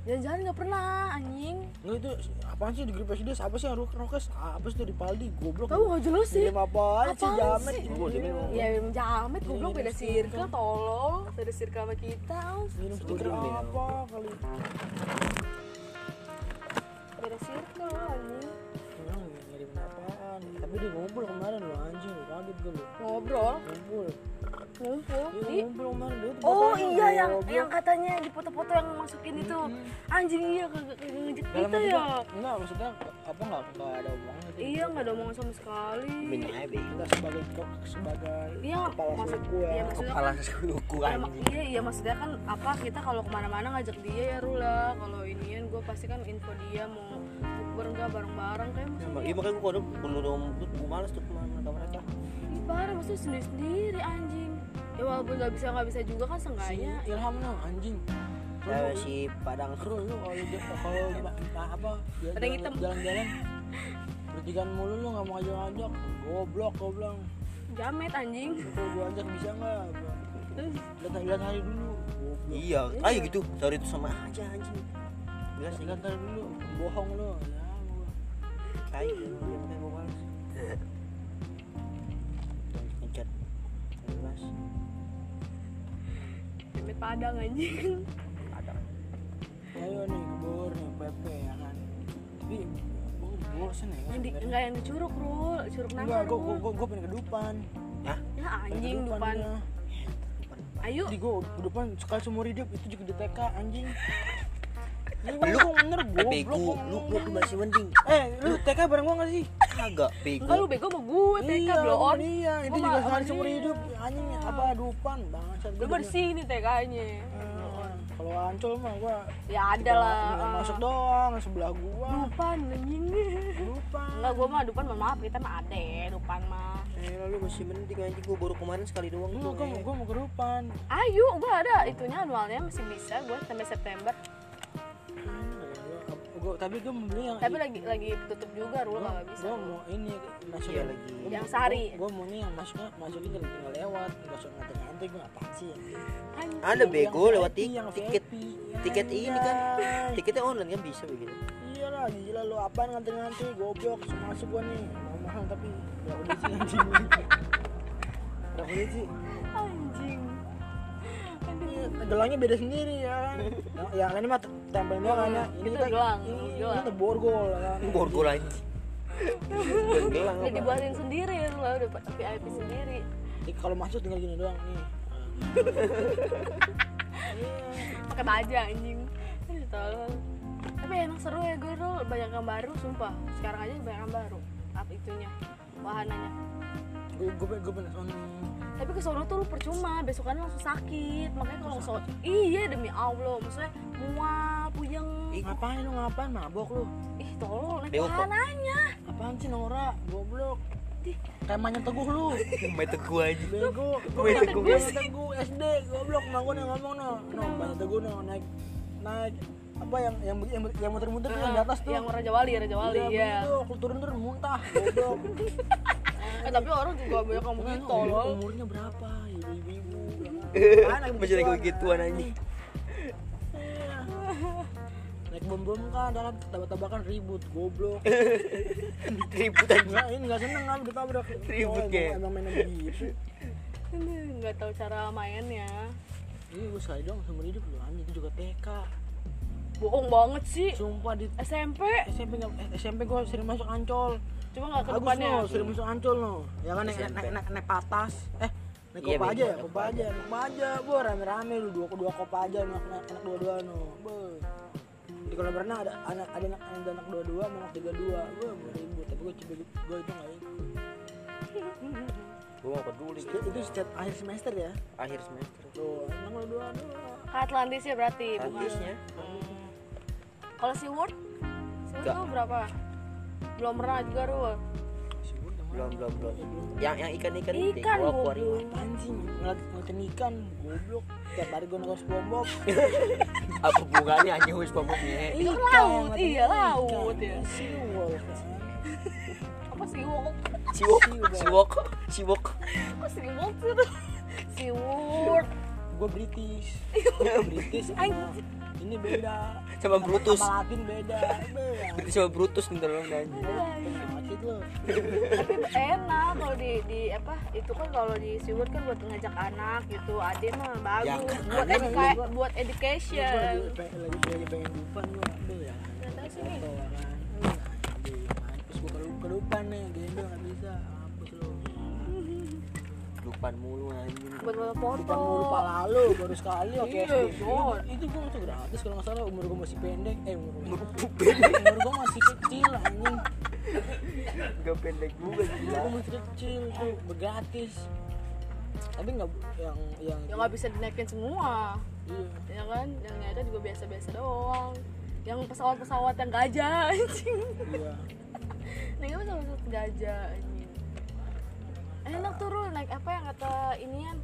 [SPEAKER 1] Jangan-jangan nggak pernah anjing.
[SPEAKER 2] Enggak itu apaan sih di grup SD apa sih yang ro- rokes apa sih dari Paldi goblok
[SPEAKER 1] Tahu nggak jelas sih.
[SPEAKER 2] Ngirim Iya, apaan sih
[SPEAKER 1] Apaan
[SPEAKER 2] jamet Iya,
[SPEAKER 1] sih?
[SPEAKER 2] Gua juga emang.
[SPEAKER 1] Ya minum jamet goblok
[SPEAKER 2] Ini
[SPEAKER 1] beda circle tolol, beda circle sama kita. aus.
[SPEAKER 2] minum stiker
[SPEAKER 3] Gua juga.
[SPEAKER 2] apa kali
[SPEAKER 1] Beda circle anjing.
[SPEAKER 2] Emang ngirim apaan tapi dia ngumpul kemarin lu anjing lu kaget gue lu
[SPEAKER 1] Ngobrol,
[SPEAKER 2] ngumpul
[SPEAKER 1] ngumpul
[SPEAKER 2] Dia
[SPEAKER 1] di
[SPEAKER 2] ngumpul kemarin dia tuh
[SPEAKER 1] Oh
[SPEAKER 2] bapaknya,
[SPEAKER 1] iya yang
[SPEAKER 2] goblok.
[SPEAKER 1] yang katanya di foto-foto yang masukin itu anjing iya kagak kagak ngejek
[SPEAKER 2] Dalam
[SPEAKER 1] kita ya.
[SPEAKER 2] maksudnya- enggak maksudnya apa enggak enggak ada omongan gitu
[SPEAKER 1] Iya nggak ada omongan sama sekali.
[SPEAKER 3] Minyak aja bego.
[SPEAKER 2] kita sebagai kok sebagai
[SPEAKER 1] Iya
[SPEAKER 2] kepala
[SPEAKER 1] maksud
[SPEAKER 2] suku ya
[SPEAKER 1] iya maksudnya
[SPEAKER 3] Kepala suku
[SPEAKER 1] Ya,
[SPEAKER 3] anjing.
[SPEAKER 1] mak- iya iya maksudnya kan apa kita kalau kemana-mana ngajak dia ya Rula kalau inian gue pasti kan info dia mau bukber nggak bareng-bareng kayak
[SPEAKER 3] Ya,
[SPEAKER 1] maksudnya
[SPEAKER 3] mak- Iya makanya gue kalau bunuh dong, gue males tuh kemana sama mereka.
[SPEAKER 1] Ih, parah maksudnya sendiri-sendiri anjing ya walaupun nggak bisa nggak bisa juga kan
[SPEAKER 2] si
[SPEAKER 1] seenggaknya
[SPEAKER 2] Ilham dong anjing
[SPEAKER 3] Ya, si Padang
[SPEAKER 2] seru lu kalau dia kalau ba- ba- apa dia
[SPEAKER 1] Iya. Ada yang hitam.
[SPEAKER 2] jalan- jalan-jalan bertigaan mulu lu nggak mau ngajak-ngajak goblok gua bilang
[SPEAKER 1] jamet anjing
[SPEAKER 2] kalau gua ajak bisa nggak Gua,
[SPEAKER 1] Eh,
[SPEAKER 2] lihat lihat hari dulu goblok
[SPEAKER 3] Iya, ayo gitu. Sorry itu sama aja anjing. Jelas sih kan
[SPEAKER 2] lihat hari dulu bohong lu ya gua.
[SPEAKER 3] tai ya makanya gue males. Ngecat. Bebas.
[SPEAKER 1] jamet padang anjing
[SPEAKER 3] Ada.
[SPEAKER 2] ayo nih kebur nih pepe ya kan tapi gua bosen ya
[SPEAKER 1] yang di,
[SPEAKER 2] sebenarnya.
[SPEAKER 1] nggak yang di curug Rul curug
[SPEAKER 2] Enggak,
[SPEAKER 1] nama
[SPEAKER 2] gue gue gue gue pengen ke depan.
[SPEAKER 3] Hah?
[SPEAKER 1] ya anjing depan ayo
[SPEAKER 2] Jadi gue ke depan sekali seumur hidup itu juga di TK anjing. Ini gue ngomong bener
[SPEAKER 3] Eh,
[SPEAKER 2] gue.
[SPEAKER 3] bego, lu lu lu masih mending.
[SPEAKER 2] Eh, lu TK bareng gue gak sih?
[SPEAKER 3] Kagak bego.
[SPEAKER 1] enggak lu bego sama gue TK
[SPEAKER 2] Iya,
[SPEAKER 1] blow on
[SPEAKER 2] Iya, itu
[SPEAKER 1] Gua
[SPEAKER 2] juga
[SPEAKER 1] ma-
[SPEAKER 2] sekali
[SPEAKER 1] iya.
[SPEAKER 2] seumur hidup anjing apa dupan bangsat.
[SPEAKER 1] lu
[SPEAKER 2] Gua juga-
[SPEAKER 1] bersih nih TK-nya
[SPEAKER 2] Eh, Kalau ancol mah gue
[SPEAKER 1] ya ada lah ah.
[SPEAKER 2] masuk doang sebelah gua.
[SPEAKER 1] Dupan anjing
[SPEAKER 2] Dupan.
[SPEAKER 1] Enggak, gue mah Dupan mohon maaf, kita mah ada ya, Dupan mah
[SPEAKER 3] Eh, lu masih mending anjing gue baru kemarin sekali doang
[SPEAKER 2] Enggak,
[SPEAKER 3] tuh. eh.
[SPEAKER 2] gue gue mau ke depan.
[SPEAKER 1] Ah. Ayo, gue ada itunya anualnya masih bisa gue sampai September
[SPEAKER 2] Apa gua tapi gua membeli yang
[SPEAKER 1] tapi lagi lagi tutup juga rule
[SPEAKER 2] gua,
[SPEAKER 1] nggak
[SPEAKER 2] Ah,
[SPEAKER 1] bisa
[SPEAKER 2] iya. gua mau ini masuk
[SPEAKER 3] Iya, lagi.
[SPEAKER 1] Yang sehari.
[SPEAKER 2] gua, gua mau nih yang masuknya masuknya tinggal, tinggal lewat nggak usah nganti nganti gua apaan sih
[SPEAKER 1] Anjing.
[SPEAKER 3] Ada Iya, bego
[SPEAKER 2] Yang
[SPEAKER 3] lewat
[SPEAKER 2] VIP,
[SPEAKER 3] tik-
[SPEAKER 2] yang
[SPEAKER 3] tiket
[SPEAKER 2] VIP. Iya,
[SPEAKER 3] tiket ini kan
[SPEAKER 2] Anjay.
[SPEAKER 3] tiketnya online kan bisa begitu.
[SPEAKER 2] Iya lah, gila lu apaan nganti-nganti, goblok, masuk gua nih Mahal, mahal tapi gak boleh sih anjing Gak boleh sih
[SPEAKER 1] anjing
[SPEAKER 2] Iya, Gelangnya beda sendiri ya kan Yang, yang ini mah tempel doang
[SPEAKER 3] Hmm,
[SPEAKER 2] ya Ini
[SPEAKER 1] Itu
[SPEAKER 2] kita,
[SPEAKER 1] gelang,
[SPEAKER 2] ini,
[SPEAKER 1] gelang.
[SPEAKER 2] kita borgol ya kan
[SPEAKER 3] Borgol aja. Bukan gelang
[SPEAKER 1] udah
[SPEAKER 3] apa?
[SPEAKER 1] dibuatin sendiri lu lah udah VIP sendiri
[SPEAKER 2] Jadi Kalau masuk tinggal gini doang nih
[SPEAKER 1] pakai baja anjing Aduh, tolol tapi emang seru ya gue dulu banyak yang baru sumpah sekarang aja banyak yang baru apa itunya wahananya
[SPEAKER 2] Gue gue gue pengen sono
[SPEAKER 1] tapi ke sono tuh lu percuma besokannya langsung sakit makanya kalau sono iya demi allah maksudnya mual puyeng
[SPEAKER 3] Ih,
[SPEAKER 2] Ngapain lu ngapain mabok lu?
[SPEAKER 1] ih tolol naik
[SPEAKER 3] Bewok kok.
[SPEAKER 1] wahananya
[SPEAKER 2] Apaan sih Nora? Goblok Kemahnya teguh lu
[SPEAKER 3] main teguh aja.
[SPEAKER 2] Bego,
[SPEAKER 3] Gue
[SPEAKER 2] Gua
[SPEAKER 3] teguh.
[SPEAKER 2] Gue teguh SD, goblok mah gue yang ngomong no. No, banyak teguh no naik naik apa yang yang yang, yang muter-muter tuh yang di atas tuh.
[SPEAKER 1] yang raja wali raja wali
[SPEAKER 2] Iya,
[SPEAKER 1] ya
[SPEAKER 2] begitu. Kalau turun turun muntah, goblok.
[SPEAKER 1] eh, tapi orang juga banyak yang
[SPEAKER 2] Pokoknya
[SPEAKER 1] ngomongin
[SPEAKER 2] tuh
[SPEAKER 1] tolol
[SPEAKER 2] umurnya berapa? Ibu-ibu. Anak
[SPEAKER 3] Masih
[SPEAKER 2] begituan,
[SPEAKER 3] kayak gituan aja.
[SPEAKER 2] Iya. Naik bom-bom kan dalam tabak-tabakan ribut, goblok.
[SPEAKER 3] Ribut aja.
[SPEAKER 2] Enggak, ini enggak seneng kan ditabrak.
[SPEAKER 3] Ribut,
[SPEAKER 2] Oh,
[SPEAKER 3] kayak.
[SPEAKER 2] Emang mainnya begitu.
[SPEAKER 1] Aduh, nggak tahu cara mainnya
[SPEAKER 2] Ini gue Iya, sekali dong seumur hidup lu anjing itu juga TK.
[SPEAKER 1] bohong banget sih
[SPEAKER 2] Sumpah di
[SPEAKER 1] SMP
[SPEAKER 2] SMP nggak eh, SMP gue sering masuk ancol
[SPEAKER 1] cuma nggak ke
[SPEAKER 2] Agus
[SPEAKER 1] depannya
[SPEAKER 2] no sering masuk ancol no ya kan naik
[SPEAKER 3] SMP.
[SPEAKER 2] naik naik, naik patas eh naik
[SPEAKER 3] Iya,
[SPEAKER 2] kopa aja
[SPEAKER 3] Bang.
[SPEAKER 2] ya
[SPEAKER 3] Naik
[SPEAKER 2] kopa
[SPEAKER 3] Kopa
[SPEAKER 2] aja naik kopa aja gua rame rame lu dua dua kopa aja anak anak, anak dua dua no Be. di kolam renang ada anak ada anak ada anak dua dua anak tiga dua gue mau ribut tapi gue coba gue itu nggak ikut
[SPEAKER 3] Gue mau peduli.
[SPEAKER 2] itu, itu setiap akhir semester ya
[SPEAKER 3] Akhir semester.
[SPEAKER 2] tuh emang lu dua dua
[SPEAKER 1] ke Atlantis ya berarti bukan
[SPEAKER 3] Habisnya
[SPEAKER 1] Hmm. kalau si Wood si Wood
[SPEAKER 3] Nggak.
[SPEAKER 1] tuh berapa belum pernah juga Rul
[SPEAKER 3] belum belum belum. Yang yang ikan-ikan itu
[SPEAKER 1] Ikan,
[SPEAKER 3] gua keluar.
[SPEAKER 1] goblok.
[SPEAKER 2] apaan sih ngeliat ngeliatin ikan goblok tiap hari gue nonton SpongeBob
[SPEAKER 3] Apa hubungannya anjing wis pokoknya.
[SPEAKER 1] Itu kan laut, iya, laut, ya.
[SPEAKER 2] Siwol.
[SPEAKER 1] apa si Wood
[SPEAKER 3] Siwok, siwok, siwok.
[SPEAKER 1] apa si Wood sih tuh si Wood
[SPEAKER 2] Gue British. Gue British. sama-
[SPEAKER 1] Iya. Anjing.
[SPEAKER 2] Ini beda.
[SPEAKER 3] Sama Brutus.
[SPEAKER 2] Sama Latin beda.
[SPEAKER 3] Berarti sama Brutus nih dalam anjing.
[SPEAKER 2] Sakit lo.
[SPEAKER 1] tapi enak kalau di di apa itu kan kalau di si Wood kan buat ngajak anak gitu ade mah bagus
[SPEAKER 3] Ya kan, Iya,
[SPEAKER 1] buat
[SPEAKER 3] anak
[SPEAKER 1] educa-
[SPEAKER 2] juga.
[SPEAKER 1] buat
[SPEAKER 2] Gua Lagi
[SPEAKER 1] education
[SPEAKER 2] pe- lagi lagi pengen dupan gue. Aduh ya.
[SPEAKER 1] Iya. Nggak tahu sih, nih.
[SPEAKER 2] Foto kan. Aduh, mampus gue kedupan nih. Gendong nggak bisa. Mampus lo.
[SPEAKER 3] Lupan mulu anjing.
[SPEAKER 1] buat buat
[SPEAKER 2] Dupan mulu
[SPEAKER 1] foto
[SPEAKER 2] pala lo baru sekali oke.
[SPEAKER 1] Iya, Bor.
[SPEAKER 2] Itu gue masuk gratis kalau nggak salah umur gue masih pendek. Eh umur gue
[SPEAKER 3] Ngepupen,
[SPEAKER 2] umur gue masih kecil anjing.
[SPEAKER 3] gak pendek juga gila.
[SPEAKER 2] Gue masih kecil tuh bergratis. Tapi nggak yang yang
[SPEAKER 1] ya nggak bisa dinaikin semua
[SPEAKER 2] iya.
[SPEAKER 1] ya kan yang ada juga biasa-biasa doang yang pesawat-pesawat yang gajah anjing
[SPEAKER 2] iya.
[SPEAKER 1] naik apa pesawat gajah anjing enak tuh Rul, naik apa yang kata inian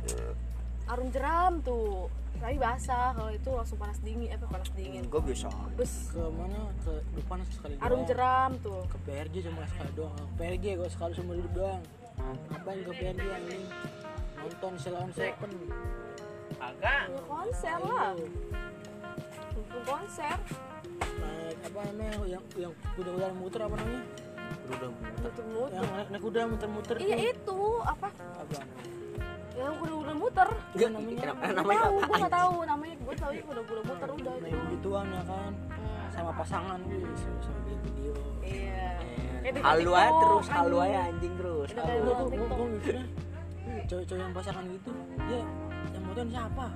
[SPEAKER 1] arum jeram tuh tapi basah kalau itu langsung panas dingin apa panas dingin
[SPEAKER 3] Gue biasa. aja.
[SPEAKER 1] bus
[SPEAKER 2] Ke mana? Ke depan sekali.
[SPEAKER 1] arum
[SPEAKER 3] Oh.
[SPEAKER 2] doang.
[SPEAKER 1] jeram tuh
[SPEAKER 2] Ke PRJ cuma sekali doang. Ke PRJ gue sekali seumur hidup doang. Ngapain ke PRJ anjing? Nonton Selawan Seven.
[SPEAKER 1] Ya, konser lah Mumpung konser
[SPEAKER 2] Naik apa namanya? Yang yang kuda-kuda yang muter apa namanya?
[SPEAKER 3] Udah
[SPEAKER 1] tutup mulut
[SPEAKER 3] Ya.
[SPEAKER 2] Yang naik, naik kuda yang muter-muter.
[SPEAKER 1] iya
[SPEAKER 2] tuh.
[SPEAKER 1] itu apa
[SPEAKER 2] Apa namanya?
[SPEAKER 1] ya udah udah muter
[SPEAKER 3] Gak kenapa namanya
[SPEAKER 1] tahu
[SPEAKER 3] apa?
[SPEAKER 1] gue nggak tahu namanya gue tahu udah udah muter udah itu Iya.
[SPEAKER 2] Naik begituan ya kan?
[SPEAKER 1] Hmm.
[SPEAKER 2] Sama pasangan gitu sama video.
[SPEAKER 1] Iya. Kayak di kan.
[SPEAKER 3] Halu aja
[SPEAKER 1] TikTok,
[SPEAKER 3] terus, halu aja anjing terus.
[SPEAKER 1] Udah
[SPEAKER 3] halu.
[SPEAKER 1] kayak
[SPEAKER 2] Enggak
[SPEAKER 1] orang
[SPEAKER 2] tuh, gue
[SPEAKER 1] TikTok.
[SPEAKER 2] gue mikirnya cowok-cowok yang pasangan gitu, dia yang motoin siapa?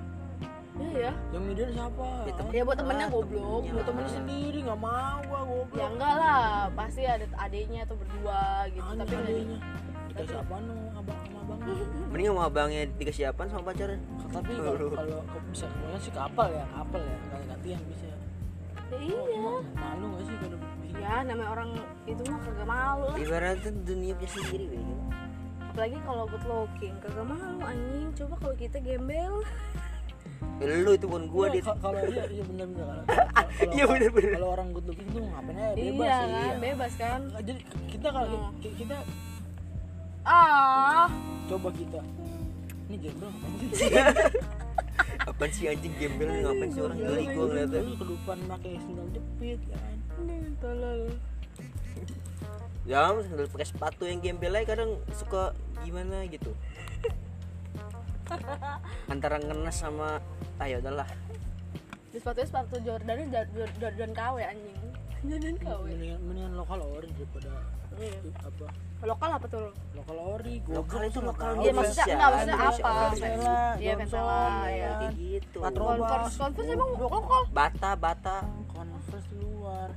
[SPEAKER 1] Iya ya.
[SPEAKER 2] Yang videoin siapa?
[SPEAKER 3] Ya, temen- Iya.
[SPEAKER 1] Dia buat temennya
[SPEAKER 3] Ah,
[SPEAKER 1] goblok.
[SPEAKER 3] temennya.
[SPEAKER 2] Buat temennya sendiri, nggak mau gua
[SPEAKER 1] Ya
[SPEAKER 2] goblok.
[SPEAKER 1] enggak lah, pasti ada adiknya atau berdua gitu.
[SPEAKER 2] Aneh
[SPEAKER 1] Tapi nggak di-
[SPEAKER 2] adanya. Dikasih apa no, abang sama abang.
[SPEAKER 3] Mending sama abangnya dikasih apaan sama pacarnya?
[SPEAKER 2] Tapi kalau kalau kalau bisa semuanya sih kapal ya, kapal ya, ganti gantian bisa.
[SPEAKER 1] Ya Iya.
[SPEAKER 2] Malu nggak sih kalau begini?
[SPEAKER 1] Ya namanya orang itu mah kagak malu lah.
[SPEAKER 3] Ibaratnya dunia punya sendiri gitu.
[SPEAKER 1] Apalagi kalau good looking kagak malu anjing. Coba kalau kita gembel.
[SPEAKER 3] Eh, lu itu bukan gua
[SPEAKER 2] Iya,
[SPEAKER 3] dia
[SPEAKER 2] ka- kalau iya iya benar benar kalau- kalau- kalau-
[SPEAKER 3] Iya, bener, bener.
[SPEAKER 2] kalau orang good looking tuh ngapain aja bebas
[SPEAKER 1] iya kan
[SPEAKER 2] iya.
[SPEAKER 1] bebas kan
[SPEAKER 2] jadi kita kalau
[SPEAKER 1] Hmm.
[SPEAKER 2] ki- kita
[SPEAKER 1] ah
[SPEAKER 2] coba kita ini gembel ngapain sih
[SPEAKER 3] apaan sih anjing gembel lu ngapain sih orang geli gua ngeliatnya
[SPEAKER 2] Lu kedupan pakai sandal jepit ya kan
[SPEAKER 1] aduh, tolol
[SPEAKER 3] ya sandal pakai sepatu yang gembel aja kadang suka gimana gitu antara ngenes sama ayo udahlah
[SPEAKER 1] di sepatunya sepatu Jordan Jordan KW anjing Jordan KW
[SPEAKER 2] mendingan, mendingan lokal ori daripada
[SPEAKER 1] Iya.
[SPEAKER 2] apa
[SPEAKER 1] lokal apa tuh
[SPEAKER 2] lokal ori gua
[SPEAKER 3] lokal itu lokal
[SPEAKER 2] Oh,
[SPEAKER 1] Iya, maksudnya enggak, maksudnya apa? Iya,
[SPEAKER 2] iya
[SPEAKER 1] Ventela, ya.
[SPEAKER 3] kayak gitu
[SPEAKER 2] Patrol.
[SPEAKER 1] Converse
[SPEAKER 2] Robas.
[SPEAKER 1] Converse emang lokal
[SPEAKER 3] bata bata
[SPEAKER 2] converse luar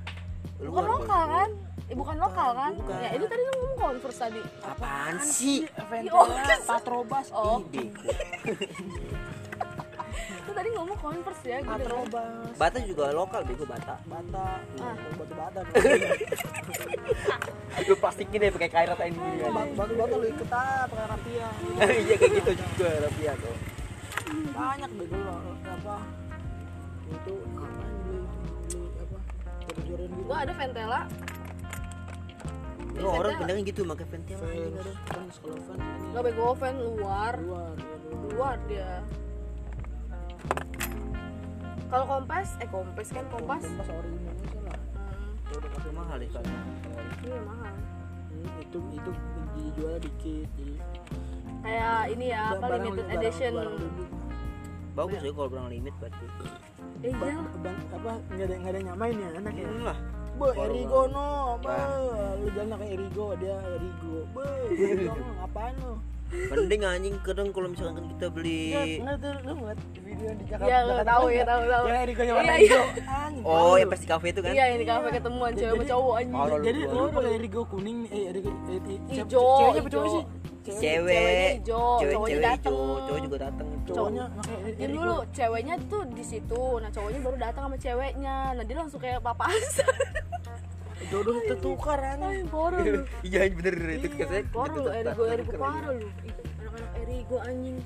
[SPEAKER 1] bukan
[SPEAKER 3] Luar,
[SPEAKER 1] lokal
[SPEAKER 3] Bang.
[SPEAKER 1] kan Eh, bukan lokal kan
[SPEAKER 3] bukan.
[SPEAKER 1] ya itu tadi lu ngomong Converse tadi
[SPEAKER 3] apaan sih
[SPEAKER 2] Ventela
[SPEAKER 1] Oh, kesel.
[SPEAKER 2] patrobas oh
[SPEAKER 1] Oh.
[SPEAKER 3] Ih, bego.
[SPEAKER 1] itu tadi ngomong Converse ya gue dengar.
[SPEAKER 2] patrobas
[SPEAKER 3] bata juga lokal bego bata
[SPEAKER 2] bata
[SPEAKER 3] Ah.
[SPEAKER 2] Oh, batu bata
[SPEAKER 3] lu plastikin deh pakai kairat ini
[SPEAKER 2] batu bata lu ikut ah pakai rafia
[SPEAKER 3] iya kayak gitu juga Rafia tuh
[SPEAKER 2] banyak bego lo apa itu apa beli beli apa jor-joran gitu
[SPEAKER 1] gua ada Ventela
[SPEAKER 3] lu orang pindahin gitu pakai pentela anjing
[SPEAKER 2] fans
[SPEAKER 3] kadang
[SPEAKER 2] fans kalau kan, fans ini
[SPEAKER 1] nggak bego fan luar
[SPEAKER 2] luar
[SPEAKER 1] luar dia kalau kompas eh kompas kan kompas
[SPEAKER 2] pas ori Indonesia lah
[SPEAKER 1] Hmm,
[SPEAKER 3] itu mahal deh kan
[SPEAKER 1] iya mahal
[SPEAKER 2] Hmm, itu itu dijual dikit jadi
[SPEAKER 1] kayak ini ya apa
[SPEAKER 2] barang-
[SPEAKER 1] limited
[SPEAKER 2] barang-
[SPEAKER 1] edition
[SPEAKER 2] barang limit.
[SPEAKER 3] bagus ya kalau berang limit berarti
[SPEAKER 1] Eh, iya
[SPEAKER 2] Ba- bang- apa nggak ada nggak ada yang nyamain ya anak ya
[SPEAKER 3] Hmm lah
[SPEAKER 2] Be,
[SPEAKER 3] Baru-
[SPEAKER 2] Erigo no, be,
[SPEAKER 3] Wah.
[SPEAKER 2] lu jangan kayak Erigo, dia Erigo, be, Erigo no, ngapain lu?
[SPEAKER 3] mending anjing kadang kalau misalkan kan kita beli
[SPEAKER 2] Nggak, tuh, lu ngeliat di video di Jakarta.
[SPEAKER 1] Iya, lu
[SPEAKER 2] Jakarta
[SPEAKER 1] tahu
[SPEAKER 2] kan
[SPEAKER 1] ya,
[SPEAKER 2] ada-
[SPEAKER 1] tahu, tahu.
[SPEAKER 2] Yang Erigo yang
[SPEAKER 1] Iya,
[SPEAKER 2] warna
[SPEAKER 1] iya.
[SPEAKER 2] hijau. Anjing,
[SPEAKER 3] oh
[SPEAKER 2] parah
[SPEAKER 3] ya
[SPEAKER 2] lu.
[SPEAKER 3] pasti kafe itu kan
[SPEAKER 1] iya ini kafe ketemuan cewek sama
[SPEAKER 2] Jadi-
[SPEAKER 1] cowok anjing
[SPEAKER 3] Parah lu.
[SPEAKER 2] Jadi lu
[SPEAKER 3] Waduh.
[SPEAKER 2] pakai Erigo kuning, eh Erigo, eh, eh, siapa-
[SPEAKER 1] Hijau,
[SPEAKER 2] ceweknya apa
[SPEAKER 1] hijau.
[SPEAKER 2] cowoknya sih?
[SPEAKER 1] Ceweknya
[SPEAKER 3] cewek
[SPEAKER 1] hijau,
[SPEAKER 3] cewek
[SPEAKER 1] cowoknya
[SPEAKER 3] cewek
[SPEAKER 1] dateng.
[SPEAKER 3] hijau cowok juga dateng
[SPEAKER 2] Cowoknya pakai Eri-
[SPEAKER 1] Jadi
[SPEAKER 2] Erigo.
[SPEAKER 1] dulu ceweknya tuh di situ, nah cowoknya baru datang sama ceweknya, nah dia langsung kayak papasan.
[SPEAKER 2] Jodoh tertukar anjing.
[SPEAKER 1] Ay, parah lu.
[SPEAKER 3] iya bener itu katanya
[SPEAKER 1] Parah lu, Erigo, Erigo, parah lu. Ih, Anak-anak Erigo anjing.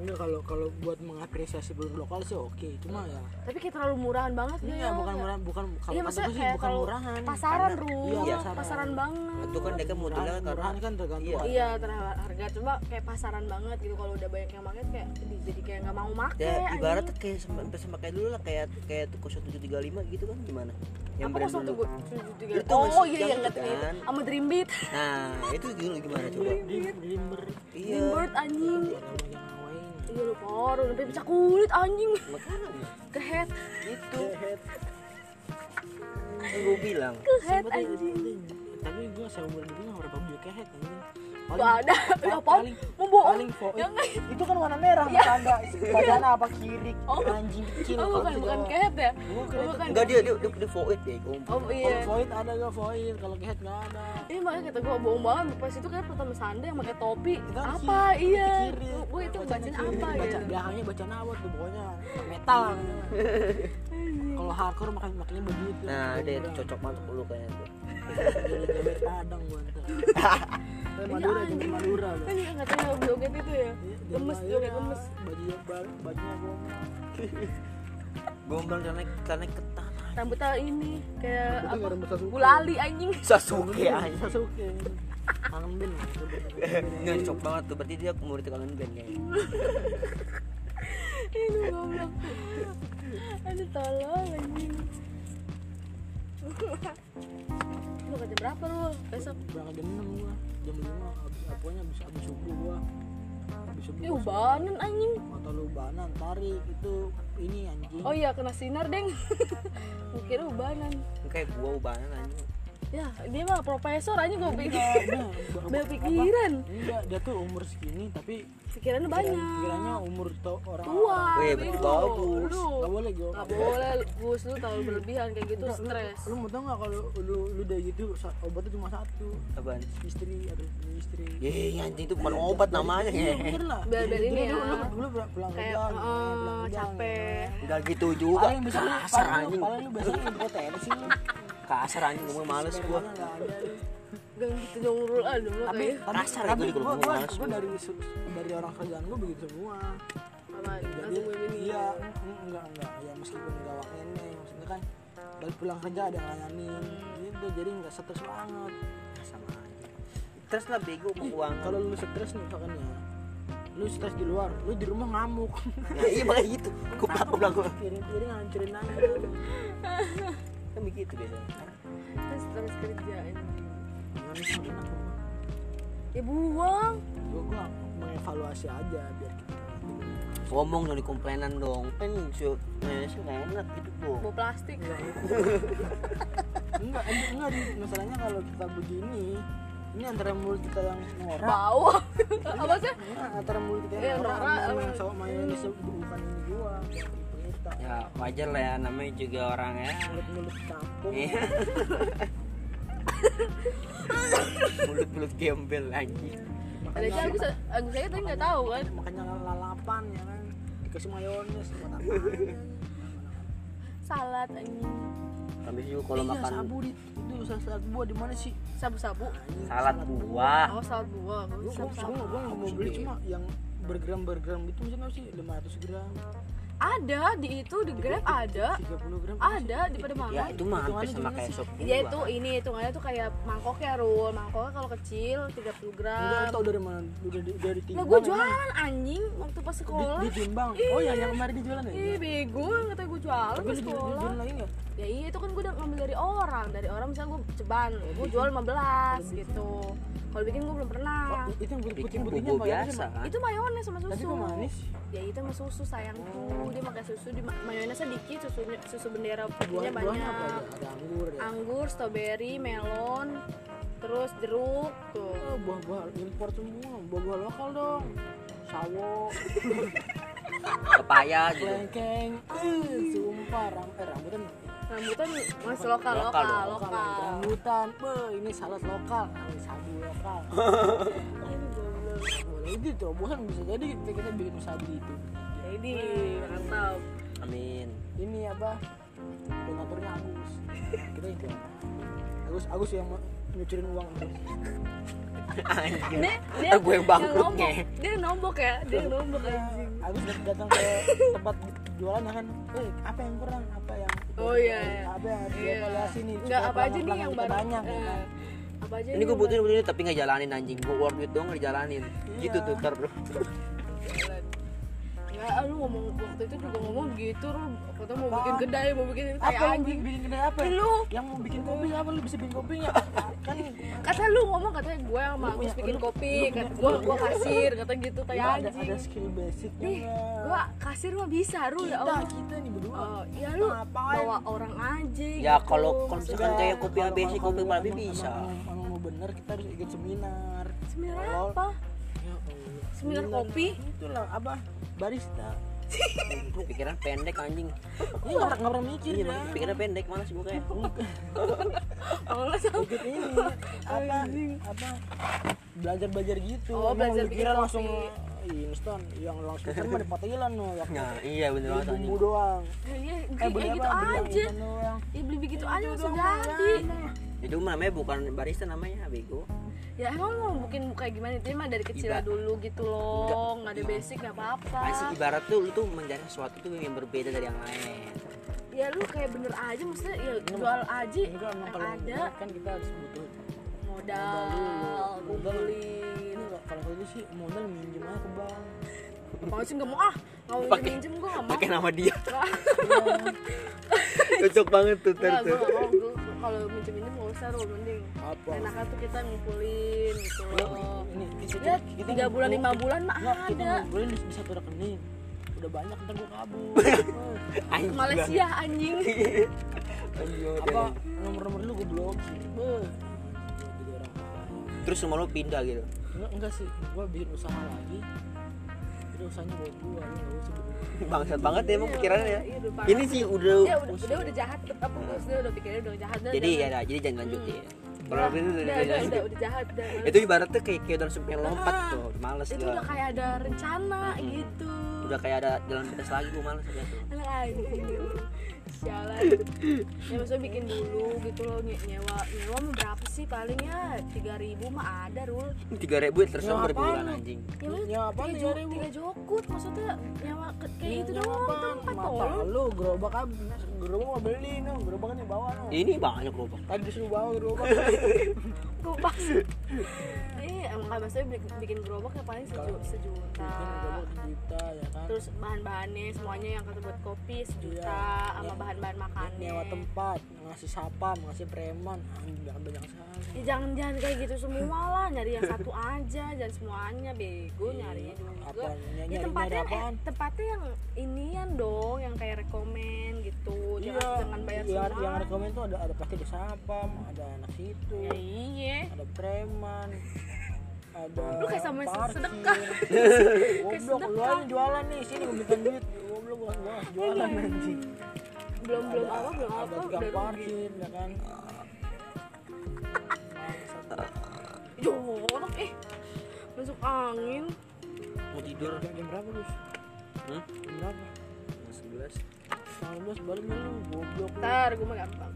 [SPEAKER 2] Enggak Iya, kalau kalau buat mengapresiasi produk lokal sih oke, cuma ya
[SPEAKER 1] Tapi kayak terlalu murahan banget dia.
[SPEAKER 2] Iya, bukan murah, bukan kalau
[SPEAKER 1] Iya,
[SPEAKER 2] kata
[SPEAKER 1] maksudnya
[SPEAKER 2] gue sih
[SPEAKER 1] kayak
[SPEAKER 2] bukan
[SPEAKER 1] kalau
[SPEAKER 2] murahan.
[SPEAKER 1] Pasaran,
[SPEAKER 3] Karena-
[SPEAKER 1] Ru.
[SPEAKER 2] Iya,
[SPEAKER 1] pasaran.
[SPEAKER 2] pasaran.
[SPEAKER 1] banget.
[SPEAKER 3] itu kan mereka modelnya
[SPEAKER 2] Murahan-
[SPEAKER 3] karena
[SPEAKER 2] murahan kan tergantung
[SPEAKER 3] iya
[SPEAKER 1] Iya, terhadap harga cuma kayak pasaran banget gitu kalau udah banyak yang pakai kayak "Ih, jadi kayak nggak mau make.
[SPEAKER 3] ya
[SPEAKER 1] Iya, anjing."
[SPEAKER 3] ibarat kayak sama sampai sama kayak dulu lah kayak kayak 0735 gitu kan gimana yang
[SPEAKER 1] apa
[SPEAKER 3] brand
[SPEAKER 1] kosong tuh
[SPEAKER 3] dulu Lu tuh
[SPEAKER 1] Oh
[SPEAKER 3] ngasih
[SPEAKER 1] iya iya
[SPEAKER 3] jam
[SPEAKER 1] nggak
[SPEAKER 3] itu
[SPEAKER 1] terlihat.
[SPEAKER 3] kan.
[SPEAKER 1] Sama Dream Beat,
[SPEAKER 3] nah itu dulu gimana coba
[SPEAKER 2] Dream- Dreamer
[SPEAKER 1] Dream Bird anjing.
[SPEAKER 2] sama yang lain.
[SPEAKER 1] Iya lu parah, lebih pecah kulit anjing.
[SPEAKER 3] Iya. makanya
[SPEAKER 1] Ke head,
[SPEAKER 3] itu gue Kan bilang
[SPEAKER 1] ke head
[SPEAKER 2] Sempat ada
[SPEAKER 1] anjing.
[SPEAKER 2] anjing. tapi gue seumur hidup nggak pernah pakai kehet anjing Paling-
[SPEAKER 1] Gak ada,
[SPEAKER 2] pa-
[SPEAKER 1] ya apa?
[SPEAKER 2] paling-
[SPEAKER 1] Mau bohong.
[SPEAKER 2] paling fo-
[SPEAKER 1] Ya nggak? Iya.
[SPEAKER 2] itu kan warna merah tanda badan apa kiri
[SPEAKER 1] Oh.
[SPEAKER 2] anjing kecil
[SPEAKER 1] Oh bukan,
[SPEAKER 2] gitu.
[SPEAKER 1] bukan ke head ya?
[SPEAKER 2] Bukan,
[SPEAKER 1] Oh, bukan.
[SPEAKER 3] enggak dia dia dia, ya, dia void deh gue
[SPEAKER 1] Oh
[SPEAKER 2] kalau
[SPEAKER 1] iya.
[SPEAKER 2] void ada gak void kalau kehet nggak ada
[SPEAKER 1] Ini Iya, makanya kata gue bohong banget pas itu kayak pertama Sanda yang pakai topi.
[SPEAKER 2] Kita kan
[SPEAKER 1] Apa
[SPEAKER 2] kiri,
[SPEAKER 1] iya?
[SPEAKER 2] kiri.
[SPEAKER 1] Gue itu
[SPEAKER 2] Bacaan kiri,
[SPEAKER 1] bacain apa
[SPEAKER 2] baca,
[SPEAKER 1] ya?
[SPEAKER 2] belakangnya bacaan awet tuh pokoknya metal kalau hardcore makan makannya begitu
[SPEAKER 3] nah dia itu cocok banget untuk lu kayaknya tuh
[SPEAKER 2] Jamet padang gua ntar
[SPEAKER 1] Iya,
[SPEAKER 2] Eh, Madura jamet Madura gua.
[SPEAKER 1] Kan yang katanya joget itu ya.
[SPEAKER 2] Iya, jamet
[SPEAKER 1] Gemes
[SPEAKER 2] Madura.
[SPEAKER 1] joget gemes.
[SPEAKER 2] bajunya bal- bajunya gombal
[SPEAKER 3] gombal celana celana ketat
[SPEAKER 1] Rambutnya ini kayak
[SPEAKER 2] Itu
[SPEAKER 1] apa?
[SPEAKER 2] nggak rambut Sasuke.
[SPEAKER 1] Gulali anjing.
[SPEAKER 3] Sasuke aja
[SPEAKER 2] Sasuke Kangen Ben
[SPEAKER 3] cocok banget tuh berarti dia murid kangen band kayaknya
[SPEAKER 1] Ih, lu goblok. Aduh tolong anjing. Lu kerja berapa lu besok?
[SPEAKER 2] Berangkat jam 6 gua Jam 5 abis, apanya, abis, abis subuh gua Abis subuh
[SPEAKER 1] Ih,
[SPEAKER 2] gua
[SPEAKER 1] ubanan anjing.
[SPEAKER 2] Mata lu banan, tarik Itu ini anjing
[SPEAKER 1] Oh iya kena sinar deng. Gua kira ubanan.
[SPEAKER 3] kayak gua ubanan anjing
[SPEAKER 1] Ya dia mah profesor aja gue pikir.
[SPEAKER 2] Nah, ba-
[SPEAKER 1] Banyak
[SPEAKER 2] apa-
[SPEAKER 1] pikiran.
[SPEAKER 2] Enggak, dia tuh umur segini tapi
[SPEAKER 1] Pikirannya
[SPEAKER 2] kira-
[SPEAKER 1] banyak.
[SPEAKER 2] Kiranya umur to orang
[SPEAKER 1] Iya. Tua.
[SPEAKER 3] Weh,
[SPEAKER 1] bego.
[SPEAKER 3] bagus.
[SPEAKER 1] Lu
[SPEAKER 2] Gak boleh gue
[SPEAKER 1] nggak boleh Gus lu terlalu berlebihan kayak gitu stres.
[SPEAKER 2] Lu mau tau gak kalau lu, lu udah gitu sa- obatnya cuma satu
[SPEAKER 3] apaan
[SPEAKER 2] Istri, aduh punya istri
[SPEAKER 3] Yeay, anjing itu bukan obat namanya
[SPEAKER 2] Iya bener lah
[SPEAKER 1] Biar- biar ini
[SPEAKER 2] Dulu-
[SPEAKER 1] ya.
[SPEAKER 2] Dulu dulu pulang- pulang kerja,
[SPEAKER 1] Kayak eh,
[SPEAKER 2] pulang ya. kerja,
[SPEAKER 1] capek.
[SPEAKER 3] Enggak gitu juga.
[SPEAKER 2] paling bisa lu
[SPEAKER 3] kasar
[SPEAKER 2] paling lu-
[SPEAKER 3] anjing.
[SPEAKER 2] paling lu biasanya lu protein sih lu.
[SPEAKER 3] Kasar anjing ngomong males gua.
[SPEAKER 2] Sebenarnya nggak ada lu.
[SPEAKER 1] Gak gitu dong lu ah dong lu
[SPEAKER 2] tapi
[SPEAKER 1] kayak
[SPEAKER 2] tapi
[SPEAKER 3] Kasar ya
[SPEAKER 2] tapi
[SPEAKER 3] gua juga
[SPEAKER 2] gua
[SPEAKER 3] ngomong
[SPEAKER 2] gua
[SPEAKER 3] males
[SPEAKER 2] gua
[SPEAKER 3] gua.
[SPEAKER 2] dari su- dari orang kerjaan gua begitu semua
[SPEAKER 1] sama langsung ya. gue ini.
[SPEAKER 2] iya mm, enggak enggak ya meskipun enggak wah ini maksudnya kan balik pulang kerja ada yang layanin
[SPEAKER 1] Hmm.
[SPEAKER 2] gitu jadi enggak stres banget
[SPEAKER 3] Ya, sama aja terus lah bego mau uang
[SPEAKER 2] kalau lu stres nih misalkan ya lu stres di luar lu di rumah ngamuk
[SPEAKER 3] ya, iya makanya gitu kuplak kuplak kuplak
[SPEAKER 2] kiri-kiri ngancurin aja
[SPEAKER 3] kan begitu biasanya
[SPEAKER 1] terus terus kerja ini
[SPEAKER 2] gimana sih enak rumah
[SPEAKER 1] ya buang
[SPEAKER 2] gua gua mengevaluasi aja biar kita
[SPEAKER 3] ngomong dong di komplainan dong kan sih nggak enak gitu bu
[SPEAKER 1] bawa plastik
[SPEAKER 2] enggak enggak, enggak di masalahnya kalau kita begini ini antara mulut kita yang norak
[SPEAKER 1] bau apa sih
[SPEAKER 2] Iya, antara mulut kita
[SPEAKER 1] Iya,
[SPEAKER 2] yang norak
[SPEAKER 1] norak,
[SPEAKER 2] sama yang
[SPEAKER 1] apa-
[SPEAKER 2] sama yang bukan ini gua bukan tipe kita
[SPEAKER 3] ya wajar lah ya namanya juga orang ya
[SPEAKER 2] mulut-mulut kampung
[SPEAKER 3] Iya. mulut-mulut gembel anjing
[SPEAKER 1] ada aja Agus Agus saya tadi nggak tahu kan
[SPEAKER 2] makanya lalapan ya kan dikasih mayones buat apa
[SPEAKER 1] salad anjing
[SPEAKER 3] tapi juga kalau
[SPEAKER 2] kalau iya,
[SPEAKER 3] makan
[SPEAKER 2] sabu di itu salad, salad buah di mana sih
[SPEAKER 1] sabu-sabu
[SPEAKER 2] Anjing,
[SPEAKER 3] salad buah
[SPEAKER 1] oh salad buah Gua
[SPEAKER 2] gua gua-
[SPEAKER 1] sabu-sabu
[SPEAKER 2] gua gua nggak mau beli cuma yang bergram bergram itu maksudnya apa sih 500 gram
[SPEAKER 1] ada di itu di Grab ada
[SPEAKER 2] 30 gram apa sih?
[SPEAKER 1] Eh, ada di
[SPEAKER 3] ya
[SPEAKER 1] Pademangan
[SPEAKER 3] itu mah hampir
[SPEAKER 2] Hitungannya
[SPEAKER 3] sama
[SPEAKER 2] gimana
[SPEAKER 3] kayak
[SPEAKER 2] sih?
[SPEAKER 3] sop
[SPEAKER 1] Iya
[SPEAKER 3] buah.
[SPEAKER 1] itu
[SPEAKER 2] kan?
[SPEAKER 1] ini hitungannya tuh kayak mangkoknya Rul Mangkoknya kalau kecil 30
[SPEAKER 2] Enggak
[SPEAKER 1] gram
[SPEAKER 2] tau dari mana udah di- dari timbang
[SPEAKER 1] Lah gue
[SPEAKER 2] emang.
[SPEAKER 1] jualan anjing waktu pas
[SPEAKER 2] di,
[SPEAKER 1] sekolah
[SPEAKER 2] di timbang oh yang yang kemarin dijualan ya
[SPEAKER 1] Ih bego kata gue jualan
[SPEAKER 2] tapi
[SPEAKER 1] pas
[SPEAKER 2] lu jual-
[SPEAKER 1] sekolah
[SPEAKER 2] jualan lagi nggak
[SPEAKER 1] Ya iya itu kan gue udah ngambil dari orang Dari orang misalnya gue ceban Gue jual 15 gitu Kalau bikin gue belum pernah
[SPEAKER 2] Oh, itu yang putih
[SPEAKER 3] bikin
[SPEAKER 2] putihnya
[SPEAKER 3] bobo biasa kan
[SPEAKER 1] Itu mayones sama
[SPEAKER 2] tapi
[SPEAKER 1] susu
[SPEAKER 2] kok manis
[SPEAKER 1] Ya itu sama susu sayangku Dia pakai susu di mayonesnya dikit susunya, Susu bendera
[SPEAKER 2] buah
[SPEAKER 1] putihnya
[SPEAKER 2] buahnya apa ada
[SPEAKER 1] Iya, banyak
[SPEAKER 2] ada anggur ya
[SPEAKER 1] Anggur, strawberry, melon Terus jeruk tuh
[SPEAKER 2] Oh, buah-buah impor semua buah-buah lokal dong sawo
[SPEAKER 3] pepaya
[SPEAKER 2] Iya.
[SPEAKER 3] gitu
[SPEAKER 2] kelengkeng eh, sumpah ram eh, rambutan
[SPEAKER 1] Rambutan masih lokal,
[SPEAKER 3] Lokal
[SPEAKER 1] lokal,
[SPEAKER 3] dong,
[SPEAKER 1] lokal,
[SPEAKER 2] lokal rambutan beh ini salad lokal ini sabu lokal boleh itu terobosan bisa jadi kita, kita bikin sabu itu
[SPEAKER 1] Jadi mantap
[SPEAKER 3] amin
[SPEAKER 2] ini apa donaturnya Agus kita itu Agus Agus yang mau nyucurin uang terus
[SPEAKER 3] anjing
[SPEAKER 1] Dia, dia,
[SPEAKER 3] Ah, gue yang bangkrut
[SPEAKER 1] nombok.
[SPEAKER 3] nih
[SPEAKER 1] Dia yang nombok ya, dia yang nombok anjing
[SPEAKER 2] Agus dat- datang ke tempat jualan ya kan eh apa yang kurang apa yang Eh,
[SPEAKER 1] Oh, iya, iya.
[SPEAKER 2] apa yang harus
[SPEAKER 1] Iya.
[SPEAKER 2] dievaluasi nih
[SPEAKER 1] Enggak
[SPEAKER 2] supaya
[SPEAKER 1] apa aja nih
[SPEAKER 2] pelanggan-pelanggan
[SPEAKER 1] yang
[SPEAKER 2] kita banyak
[SPEAKER 1] baru
[SPEAKER 2] ya
[SPEAKER 1] Eh,
[SPEAKER 2] kan?
[SPEAKER 1] Apa aja
[SPEAKER 3] ini
[SPEAKER 2] iya.
[SPEAKER 3] gue
[SPEAKER 1] butuh
[SPEAKER 3] butuhin butuhin tapi nggak jalanin anjing gue worth duit doang nggak jalanin gitu
[SPEAKER 2] Iya.
[SPEAKER 3] tuh ntar bro
[SPEAKER 1] Enggak, lu ngomong waktu itu juga ngomong gitu lu Kata mau bikin kedai, mau bikin ini
[SPEAKER 2] apa
[SPEAKER 1] kayak
[SPEAKER 2] yang
[SPEAKER 1] anjing
[SPEAKER 2] bikin, bikin kedai apa
[SPEAKER 1] Lu.
[SPEAKER 2] yang mau bikin kopi apa lu bisa bikin kopi nggak kan
[SPEAKER 1] Kata lu ngomong katanya gue sama
[SPEAKER 2] Lu
[SPEAKER 1] Agus
[SPEAKER 2] punya-
[SPEAKER 1] bikin
[SPEAKER 2] lu-
[SPEAKER 1] kopi
[SPEAKER 2] lu
[SPEAKER 1] Kata
[SPEAKER 2] punya-
[SPEAKER 1] gue,
[SPEAKER 2] lu-
[SPEAKER 1] gue kasir, kata gitu
[SPEAKER 2] lu
[SPEAKER 1] kayak
[SPEAKER 2] ada
[SPEAKER 1] anjing
[SPEAKER 2] ada skill basicnya
[SPEAKER 1] Nih,
[SPEAKER 2] nggak?
[SPEAKER 1] gue kasir mah bisa, Rul ya
[SPEAKER 2] kita
[SPEAKER 1] Allah
[SPEAKER 2] kita nih berdua
[SPEAKER 1] Oh, ya lu
[SPEAKER 2] Ngapain?
[SPEAKER 1] bawa orang aja
[SPEAKER 3] Ya,
[SPEAKER 1] gitu.
[SPEAKER 3] kalau- kalau
[SPEAKER 1] Maksudnya,
[SPEAKER 3] misalkan kayak kopi
[SPEAKER 2] Kalau-
[SPEAKER 3] ABC,
[SPEAKER 2] kalau-
[SPEAKER 3] kopi
[SPEAKER 2] kalau
[SPEAKER 3] Marabi
[SPEAKER 2] emang-
[SPEAKER 3] bisa.
[SPEAKER 2] emang- emang- emang mau bener kita harus ikut seminar
[SPEAKER 1] Seminar
[SPEAKER 2] Kalau-
[SPEAKER 1] apa?
[SPEAKER 2] Ya Allah.
[SPEAKER 1] Seminar kopi?
[SPEAKER 2] itulah apa barista
[SPEAKER 3] pikiran pendek anjing
[SPEAKER 2] ini nggak nggak pernah mikir
[SPEAKER 3] iya
[SPEAKER 2] ya
[SPEAKER 3] makanya pikiran pendek malas gue kayak
[SPEAKER 1] Oh, lu sama-
[SPEAKER 2] ikut ini apa apa belajar belajar gitu
[SPEAKER 1] Oh,
[SPEAKER 2] Emang
[SPEAKER 1] belajar
[SPEAKER 2] lu
[SPEAKER 1] bikin
[SPEAKER 2] kira
[SPEAKER 1] kopi.
[SPEAKER 2] langsung "Ih, instan yang langsung kan mah di Thailand loh yang
[SPEAKER 3] nah iya bener banget anjing
[SPEAKER 2] bumbu doang
[SPEAKER 1] Iya,
[SPEAKER 2] eh
[SPEAKER 1] beli
[SPEAKER 2] beli apa
[SPEAKER 1] kayak
[SPEAKER 2] beli
[SPEAKER 1] gitu
[SPEAKER 2] yang
[SPEAKER 1] aja.
[SPEAKER 2] instan doang
[SPEAKER 1] Ya beli begitu aja
[SPEAKER 2] Itu
[SPEAKER 1] langsung
[SPEAKER 2] doang,
[SPEAKER 1] jadi.
[SPEAKER 2] mah.
[SPEAKER 3] itu mah namanya bukan barista namanya bego
[SPEAKER 1] Ya emang mau bikin kayak gimana itu mah dari kecil
[SPEAKER 3] Iba-
[SPEAKER 1] dulu gitu loh, nggak ada basic nggak apa-apa.
[SPEAKER 3] masih ibarat tuh lu tuh mencari sesuatu tuh yang berbeda dari yang lain
[SPEAKER 1] Ya lu kayak bener aja maksudnya ya jual aja
[SPEAKER 2] enggak emang
[SPEAKER 1] yang
[SPEAKER 2] kalau
[SPEAKER 1] ada
[SPEAKER 2] berat kan kita harus butuh
[SPEAKER 1] modal,
[SPEAKER 2] dulu. Modal.
[SPEAKER 1] kumpulin.
[SPEAKER 2] ini nggak kalau gue sih modal minjem aja ke bank
[SPEAKER 1] Mau sih nggak mau ah, nggak mau
[SPEAKER 3] Pakai-
[SPEAKER 1] minjem gue nggak mau.
[SPEAKER 3] pakai nama dia
[SPEAKER 1] Nggak.
[SPEAKER 3] cocok banget tuh ter
[SPEAKER 1] Enggak, gue
[SPEAKER 3] ter
[SPEAKER 1] gak mau Gue kalau minjem minjem gak usah Rul, mending
[SPEAKER 2] Apa? Oh,
[SPEAKER 1] Enaknya tuh kita ngumpulin gitu loh
[SPEAKER 2] ini kita-
[SPEAKER 1] Ya,
[SPEAKER 2] kita
[SPEAKER 1] tiga bulan,
[SPEAKER 2] ngumpulin.
[SPEAKER 1] lima bulan mah
[SPEAKER 2] Nggak, kita
[SPEAKER 1] ada.
[SPEAKER 2] ngumpulin di di satu rekening udah banyak ntar gue kabur
[SPEAKER 1] Ke Malaysia anjing
[SPEAKER 2] apa nomor-nomor lu gue blokir Beuh. Jadi orang kaya.
[SPEAKER 3] terus semua lu pindah gitu
[SPEAKER 2] enggak enggak sih gue bikin usaha lagi jadi usahanya buat gue lu nggak usah berdua
[SPEAKER 3] bangsat banget ya emang pikirannya ya
[SPEAKER 1] Iya, udah parah.
[SPEAKER 3] ini sih
[SPEAKER 1] Dia
[SPEAKER 3] udah
[SPEAKER 1] udah, dia udah jahat Apa dia udah pikirnya udah jahat dah,
[SPEAKER 3] jadi ya
[SPEAKER 1] jangan-
[SPEAKER 3] dah, jadi jangan lanjutin
[SPEAKER 1] Udah,
[SPEAKER 3] kalau
[SPEAKER 1] udah,
[SPEAKER 3] itu udah
[SPEAKER 1] udah,
[SPEAKER 3] lanjut.
[SPEAKER 1] udah, udah jahat dah, males.
[SPEAKER 3] itu ibaratnya kayak kayak udah langsung pengen lompat tuh udah males
[SPEAKER 1] Itu
[SPEAKER 3] gua.
[SPEAKER 1] udah kayak ada rencana gitu
[SPEAKER 3] udah udah kayak ada jalan pintas lagi gue males aja tuh
[SPEAKER 1] Anak anjing Sialan Ya maksudnya bikin dulu gitu loh nye- nyewa Nyewa mah berapa sih palingnya 3000 mah ada Rul
[SPEAKER 3] tiga ribu ya, terserah
[SPEAKER 2] Nyawa
[SPEAKER 3] berbulan
[SPEAKER 2] apaan?
[SPEAKER 3] anjing
[SPEAKER 1] Ya
[SPEAKER 2] Nyewa
[SPEAKER 1] maksudnya
[SPEAKER 2] apaan
[SPEAKER 1] tiga, jo-
[SPEAKER 2] 3.000?
[SPEAKER 1] tiga jokut Maksudnya nyewa ke- kayak
[SPEAKER 2] Iya,
[SPEAKER 1] Ya, itu
[SPEAKER 2] nyawa
[SPEAKER 1] doang
[SPEAKER 2] apaan?
[SPEAKER 1] tempat
[SPEAKER 2] Mata
[SPEAKER 1] tolong
[SPEAKER 2] lu gerobak habis, gerobak mah beli no, gerobak kan dibawa no.
[SPEAKER 3] ini banyak loh bang
[SPEAKER 2] Tadi disuruh bawa gerobak.
[SPEAKER 1] Gue maksud Iya emang maksudnya bikin, bikin gerobak ya paling seju,
[SPEAKER 2] Kalau-
[SPEAKER 1] sejuta
[SPEAKER 2] Bikin gerobak sejuta ya kan.
[SPEAKER 1] Terus bahan-bahannya semuanya yang kata buat kopi sejuta
[SPEAKER 2] Iya.
[SPEAKER 1] Sama bahan-bahan makannya
[SPEAKER 2] nyewa tempat, ngasih sapam, ngasih preman, anjing jangan banyak salah.
[SPEAKER 1] Ya jangan jangan kayak gitu semua lah nyari yang satu aja jangan semuanya bego
[SPEAKER 2] Iya,
[SPEAKER 1] nyarinya juga
[SPEAKER 2] apaan? Nyari-
[SPEAKER 1] ya
[SPEAKER 2] nyari-
[SPEAKER 1] tempatnya
[SPEAKER 2] nyari apaan?
[SPEAKER 1] eh, tempatnya yang inian dong yang kayak rekomen gitu jangan jangan bayar
[SPEAKER 2] iya,
[SPEAKER 1] semua
[SPEAKER 2] Yang rekomen tuh ada ada pasti ada sapam, ada anak situ,
[SPEAKER 1] ya iya
[SPEAKER 2] ada preman, ada
[SPEAKER 1] Lu kayak sama
[SPEAKER 2] parkir.
[SPEAKER 1] sedekah.
[SPEAKER 2] Goblok, lu aja jualan nih, sini gue belikan duit. Goblok, gua gua harus jualan anjing.
[SPEAKER 1] belum belum apa belum
[SPEAKER 2] Ada
[SPEAKER 1] apa
[SPEAKER 2] tukang
[SPEAKER 1] Iya, Oh, udah rugi
[SPEAKER 2] parkir, ya kan.
[SPEAKER 1] jorok eh masuk angin
[SPEAKER 3] mau tidur
[SPEAKER 2] Jam jam berapa lu?
[SPEAKER 3] hmm?
[SPEAKER 2] Jam berapa?
[SPEAKER 3] sebelas
[SPEAKER 2] Setengah dua sebalik lu, goblok lu.
[SPEAKER 1] ntar gue mah gampang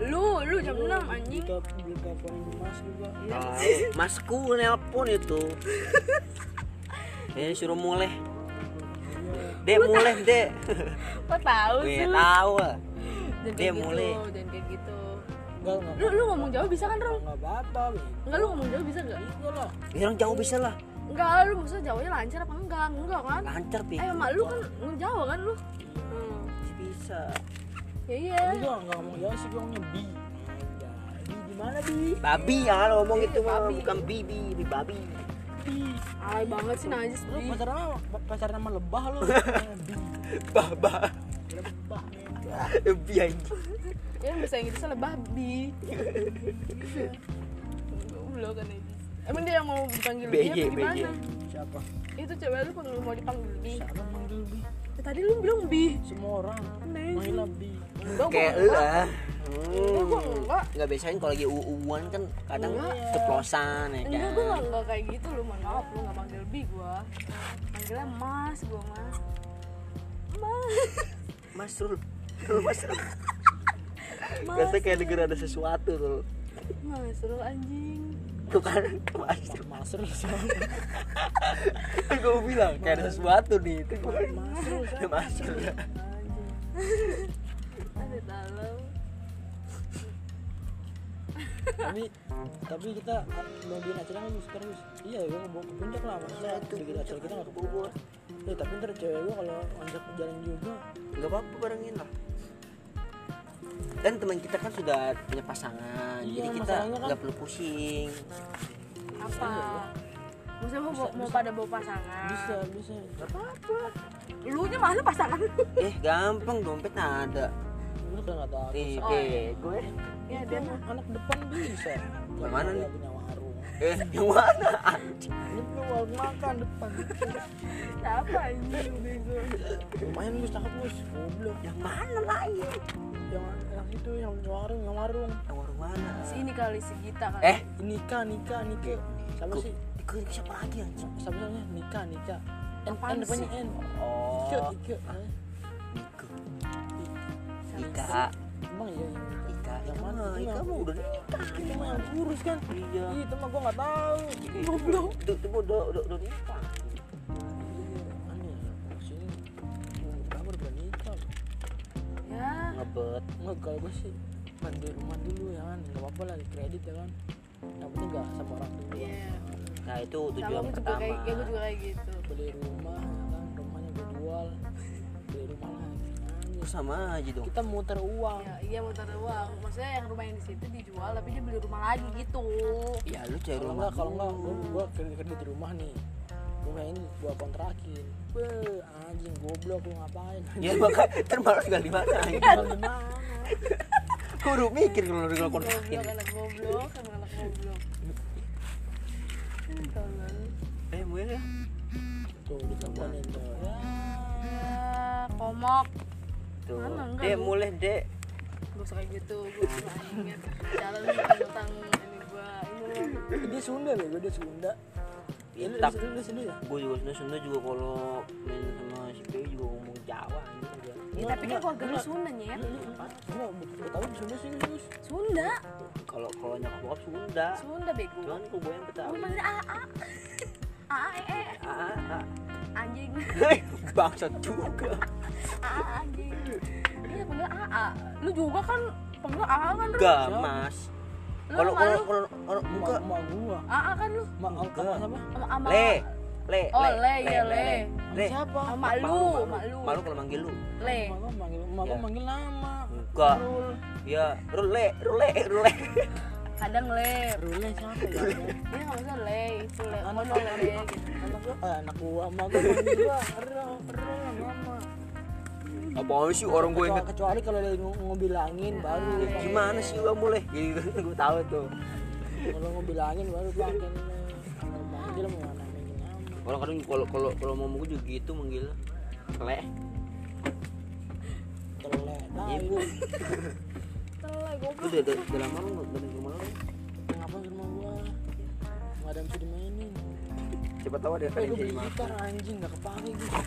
[SPEAKER 1] lu lu
[SPEAKER 2] Iya,
[SPEAKER 1] jam enam anjing
[SPEAKER 2] Ditelp- diteleponin mas juga.
[SPEAKER 3] masku nelpon itu eh suruh mulai dek mulai dek
[SPEAKER 1] kok tahu
[SPEAKER 3] gue
[SPEAKER 1] sih lu
[SPEAKER 3] tahu lah
[SPEAKER 1] jangan
[SPEAKER 3] dia
[SPEAKER 1] kayak gitu
[SPEAKER 3] mulai.
[SPEAKER 1] jangan kayak gitu
[SPEAKER 2] Enggak, enggak.
[SPEAKER 1] lu lu ngomong jauh bisa kan Rom?
[SPEAKER 2] Enggak apa-apa, Bang.
[SPEAKER 1] Enggak lu ngomong jauh bisa enggak?
[SPEAKER 2] Bisa lah.
[SPEAKER 3] Ya, orang jauh bisa lah
[SPEAKER 1] Enggak, lu maksudnya jauhnya lancar apa enggak? Enggak kan?
[SPEAKER 3] lancar pi
[SPEAKER 1] Eh, mak lu kan ngejawa kan lu? Hmm.
[SPEAKER 3] bisa
[SPEAKER 1] Ya iya.
[SPEAKER 2] Tapi gua enggak ngomong jauh sih, gua ngomongnya bi. Anjay. Bi gimana, bi?
[SPEAKER 3] babi ya kalau ngomong itu mah
[SPEAKER 1] babi.
[SPEAKER 3] bukan bibi ini babi
[SPEAKER 1] Alay banget sih najis
[SPEAKER 2] Lu
[SPEAKER 1] lu.
[SPEAKER 2] pacar nama, pacar nama lebah lu. bi.
[SPEAKER 3] baba
[SPEAKER 2] Lebah.
[SPEAKER 3] babi anjing
[SPEAKER 1] Ya yang bahasa Inggrisnya lebah bi. Goblok kan najis. Emang dia yang mau dipanggil bi apa
[SPEAKER 3] BY,
[SPEAKER 1] gimana?
[SPEAKER 2] Siapa?
[SPEAKER 1] Itu cewek lu pengen mau dipanggil bi.
[SPEAKER 2] Siapa manggil bi?
[SPEAKER 1] Ya, tadi lu bilang bi.
[SPEAKER 2] Semua orang.
[SPEAKER 1] Amazing.
[SPEAKER 2] Manggil bi.
[SPEAKER 1] Enggak, gua
[SPEAKER 3] kayak lu
[SPEAKER 1] enggak.
[SPEAKER 3] ah
[SPEAKER 1] Enggak, gua enggak.
[SPEAKER 3] nggak biasain kalau lagi uuan kan kadang
[SPEAKER 1] Enggak.
[SPEAKER 3] ceplosan ya
[SPEAKER 1] Enggak,
[SPEAKER 3] kan
[SPEAKER 1] gua enggak, enggak kayak gitu lu. Mohon maaf, lu enggak manggil bi gua. Manggilnya mas gua, mas. Mas.
[SPEAKER 3] mas rul Rul, mas rul
[SPEAKER 1] Mas.
[SPEAKER 3] biasa kayak denger ada sesuatu tuh
[SPEAKER 1] Mas Rul anjing.
[SPEAKER 3] tuh kan mas rul
[SPEAKER 2] Masuk
[SPEAKER 3] kan gue bilang kayak ada sesuatu nih itu gue
[SPEAKER 2] Masuk.
[SPEAKER 3] ada mas rul
[SPEAKER 1] Ada dalam.
[SPEAKER 2] tapi tapi kita mau bikin acara kan terus terus iya gue mau ke puncak lah maksudnya sedikit acara kita nggak ke Iya, Bogor ya tapi ntar cewek gue kalau ngajak jalan juga
[SPEAKER 3] nggak apa-apa barengin lah dan teman kita kan sudah punya pasangan
[SPEAKER 2] Iya,
[SPEAKER 3] jadi kita
[SPEAKER 2] masalahnya kan-
[SPEAKER 3] nggak perlu pusing
[SPEAKER 1] Apa? Maksudnya mau, mau pada bawa pasangan?
[SPEAKER 2] bisa bisa
[SPEAKER 1] Apa? Lu nya mana pasangan lu?
[SPEAKER 3] eh gampang dompet ada
[SPEAKER 2] lu kan nggak tahu
[SPEAKER 3] nih
[SPEAKER 1] Oh,
[SPEAKER 3] eh, gue
[SPEAKER 1] Ya
[SPEAKER 2] Itu
[SPEAKER 1] dia
[SPEAKER 2] anak, anak depan bisa Yang
[SPEAKER 3] mana
[SPEAKER 2] dia
[SPEAKER 3] nih?
[SPEAKER 2] punya warung
[SPEAKER 3] eh yang mana anjing
[SPEAKER 2] ini punya warung makan depan
[SPEAKER 1] apa anjing bego.
[SPEAKER 2] lumayan gus cakep gus goblok
[SPEAKER 3] yang mana lagi
[SPEAKER 2] yang yang itu yang punya warung yang warung
[SPEAKER 3] yang warung mana
[SPEAKER 1] Sini kali si Gita kali.
[SPEAKER 3] eh
[SPEAKER 2] nikah nikah
[SPEAKER 3] Iya,
[SPEAKER 2] nikah siapa
[SPEAKER 3] Ku-
[SPEAKER 2] sih
[SPEAKER 3] Ku- siapa lagi anjing
[SPEAKER 2] siapa namanya nikah nikah N
[SPEAKER 1] Apaan
[SPEAKER 2] N depannya
[SPEAKER 1] sih?
[SPEAKER 2] N Ike
[SPEAKER 3] oh
[SPEAKER 2] Ike eh.
[SPEAKER 3] Niko Ika
[SPEAKER 2] emang iya iya.
[SPEAKER 3] Ika
[SPEAKER 2] Yang
[SPEAKER 3] yang
[SPEAKER 2] mana?
[SPEAKER 3] mana Ika
[SPEAKER 2] Yang
[SPEAKER 3] mau udah nikah
[SPEAKER 2] itu mah yang kurus kan
[SPEAKER 3] Iya.
[SPEAKER 2] Ih, itu mah gue nggak tahu
[SPEAKER 3] belum itu itu udah udah udah nikah
[SPEAKER 2] aneh sini umur berapa udah berani nikah
[SPEAKER 1] Ya.
[SPEAKER 3] ngebet
[SPEAKER 2] nggak kalau gue sih mandi rumah dulu ya kan nggak apa-apa lah kredit ya kan yang penting nggak sama orang tua
[SPEAKER 1] Iya.
[SPEAKER 3] nah itu
[SPEAKER 1] Sama
[SPEAKER 3] tujuan
[SPEAKER 1] gue juga
[SPEAKER 3] pertama
[SPEAKER 1] kayak ya, gue juga kayak gitu.
[SPEAKER 2] beli rumah ya kan rumahnya gue jual beli rumah lagi
[SPEAKER 3] Lu
[SPEAKER 2] Anjir.
[SPEAKER 3] sama aja dong
[SPEAKER 2] kita muter uang
[SPEAKER 1] Ya, iya mau taruh uang. Maksudnya yang rumah yang di situ dijual tapi dia beli rumah lagi gitu.
[SPEAKER 3] ya lu cari
[SPEAKER 2] kalau
[SPEAKER 3] rumah
[SPEAKER 2] nggak kalau nggak gue gue kredit kredit rumah nih rumah ini gue kontrakin be anjing goblok lu ngapain
[SPEAKER 3] ya maka termalas tinggal
[SPEAKER 1] Iya,
[SPEAKER 3] di mana anjing?
[SPEAKER 2] Tinggal di mana?
[SPEAKER 3] Gua udah mikir kalau lu kalau kontrakin
[SPEAKER 1] Goblok anak goblok, emang anak goblok. Hmm, tolol.
[SPEAKER 3] eh gue ya
[SPEAKER 2] tuh diteleponin tuh ya
[SPEAKER 1] Ya, komok
[SPEAKER 3] tuh
[SPEAKER 1] Mana, enggak,
[SPEAKER 3] dek
[SPEAKER 1] Bu.
[SPEAKER 3] mulai dek
[SPEAKER 1] gue suka gitu gue suka inget jalan tentang ini gue ini
[SPEAKER 2] dia Sunda loh gue dia Sunda Lu-
[SPEAKER 1] Iya,
[SPEAKER 3] pitak
[SPEAKER 2] lu, lu sendiri ya?
[SPEAKER 3] gue juga sebenarnya Sunda juga kalau main sama si Pei juga ngomong Jawa gitu aja
[SPEAKER 1] Ya, tapi kan keluarga lu Sunda ya
[SPEAKER 2] Lu, lu, lu, lu, lu tahu Sunda sih, Gus.
[SPEAKER 1] Sunda
[SPEAKER 3] kalau kalau nyokap bokap Sunda
[SPEAKER 1] Sunda bego
[SPEAKER 3] cuman kok gue yang
[SPEAKER 1] Lu
[SPEAKER 3] Betawi
[SPEAKER 1] manggil AA AA eh eh
[SPEAKER 3] ah ah
[SPEAKER 1] anjing
[SPEAKER 3] ah bangsat juga
[SPEAKER 1] AA anjing Iya panggil AA Lu juga kan panggil AA kan lu
[SPEAKER 3] enggak mas
[SPEAKER 1] Lu
[SPEAKER 3] kalau
[SPEAKER 1] sama
[SPEAKER 3] kalau
[SPEAKER 1] lu?
[SPEAKER 3] kalau kalau buka
[SPEAKER 2] Emak- emak gua.
[SPEAKER 1] AA kan lu
[SPEAKER 2] Emak- emak
[SPEAKER 3] Enggak.
[SPEAKER 2] siapa?
[SPEAKER 1] sama sama
[SPEAKER 3] le le
[SPEAKER 1] Oh, le, iya, le.
[SPEAKER 3] le
[SPEAKER 2] Siapa?
[SPEAKER 1] sama
[SPEAKER 3] Mak
[SPEAKER 1] lu
[SPEAKER 3] mak
[SPEAKER 1] sama lu
[SPEAKER 3] Mak lu kalau manggil lu
[SPEAKER 1] le
[SPEAKER 2] Emak gua manggil, emak gua
[SPEAKER 3] Iya.
[SPEAKER 2] manggil nama.
[SPEAKER 3] enggak
[SPEAKER 2] Rul.
[SPEAKER 3] ya rule rule rule
[SPEAKER 1] kadang le
[SPEAKER 2] Rule siapa ya?
[SPEAKER 1] dia nggak bisa le itu le
[SPEAKER 2] Anak
[SPEAKER 1] kono
[SPEAKER 2] gua,
[SPEAKER 1] le gitu
[SPEAKER 2] anak gua, eh, anak gua, emak gua manggil gua. Rul, Rul, nama.
[SPEAKER 3] apaan sih orang gue
[SPEAKER 2] Kecuali,
[SPEAKER 3] inget
[SPEAKER 2] kecuali kalau dia ng- ngebilangin baru dia pakai.
[SPEAKER 3] gimana sih bang boleh gitu kan gue tahu tuh
[SPEAKER 2] Kalau ngebilangin baru pakai. Kalau manggil mau anak manggil nama.
[SPEAKER 3] kalau kadang kalau kalau kalau mau gue juga gitu manggil le
[SPEAKER 2] Tele,
[SPEAKER 3] Iya.
[SPEAKER 2] tahu.
[SPEAKER 1] le
[SPEAKER 3] lu
[SPEAKER 1] goblok
[SPEAKER 3] udah udah udah lama lu nggak udah main ke rumah lu
[SPEAKER 2] Kenapa di rumah gua? Enggak ada yang bisa dimainin.
[SPEAKER 3] siapa tahu ada
[SPEAKER 2] Eh,
[SPEAKER 3] yang
[SPEAKER 2] gua
[SPEAKER 3] jadi
[SPEAKER 2] beli
[SPEAKER 3] makan
[SPEAKER 2] gitar anjing enggak kepake gua.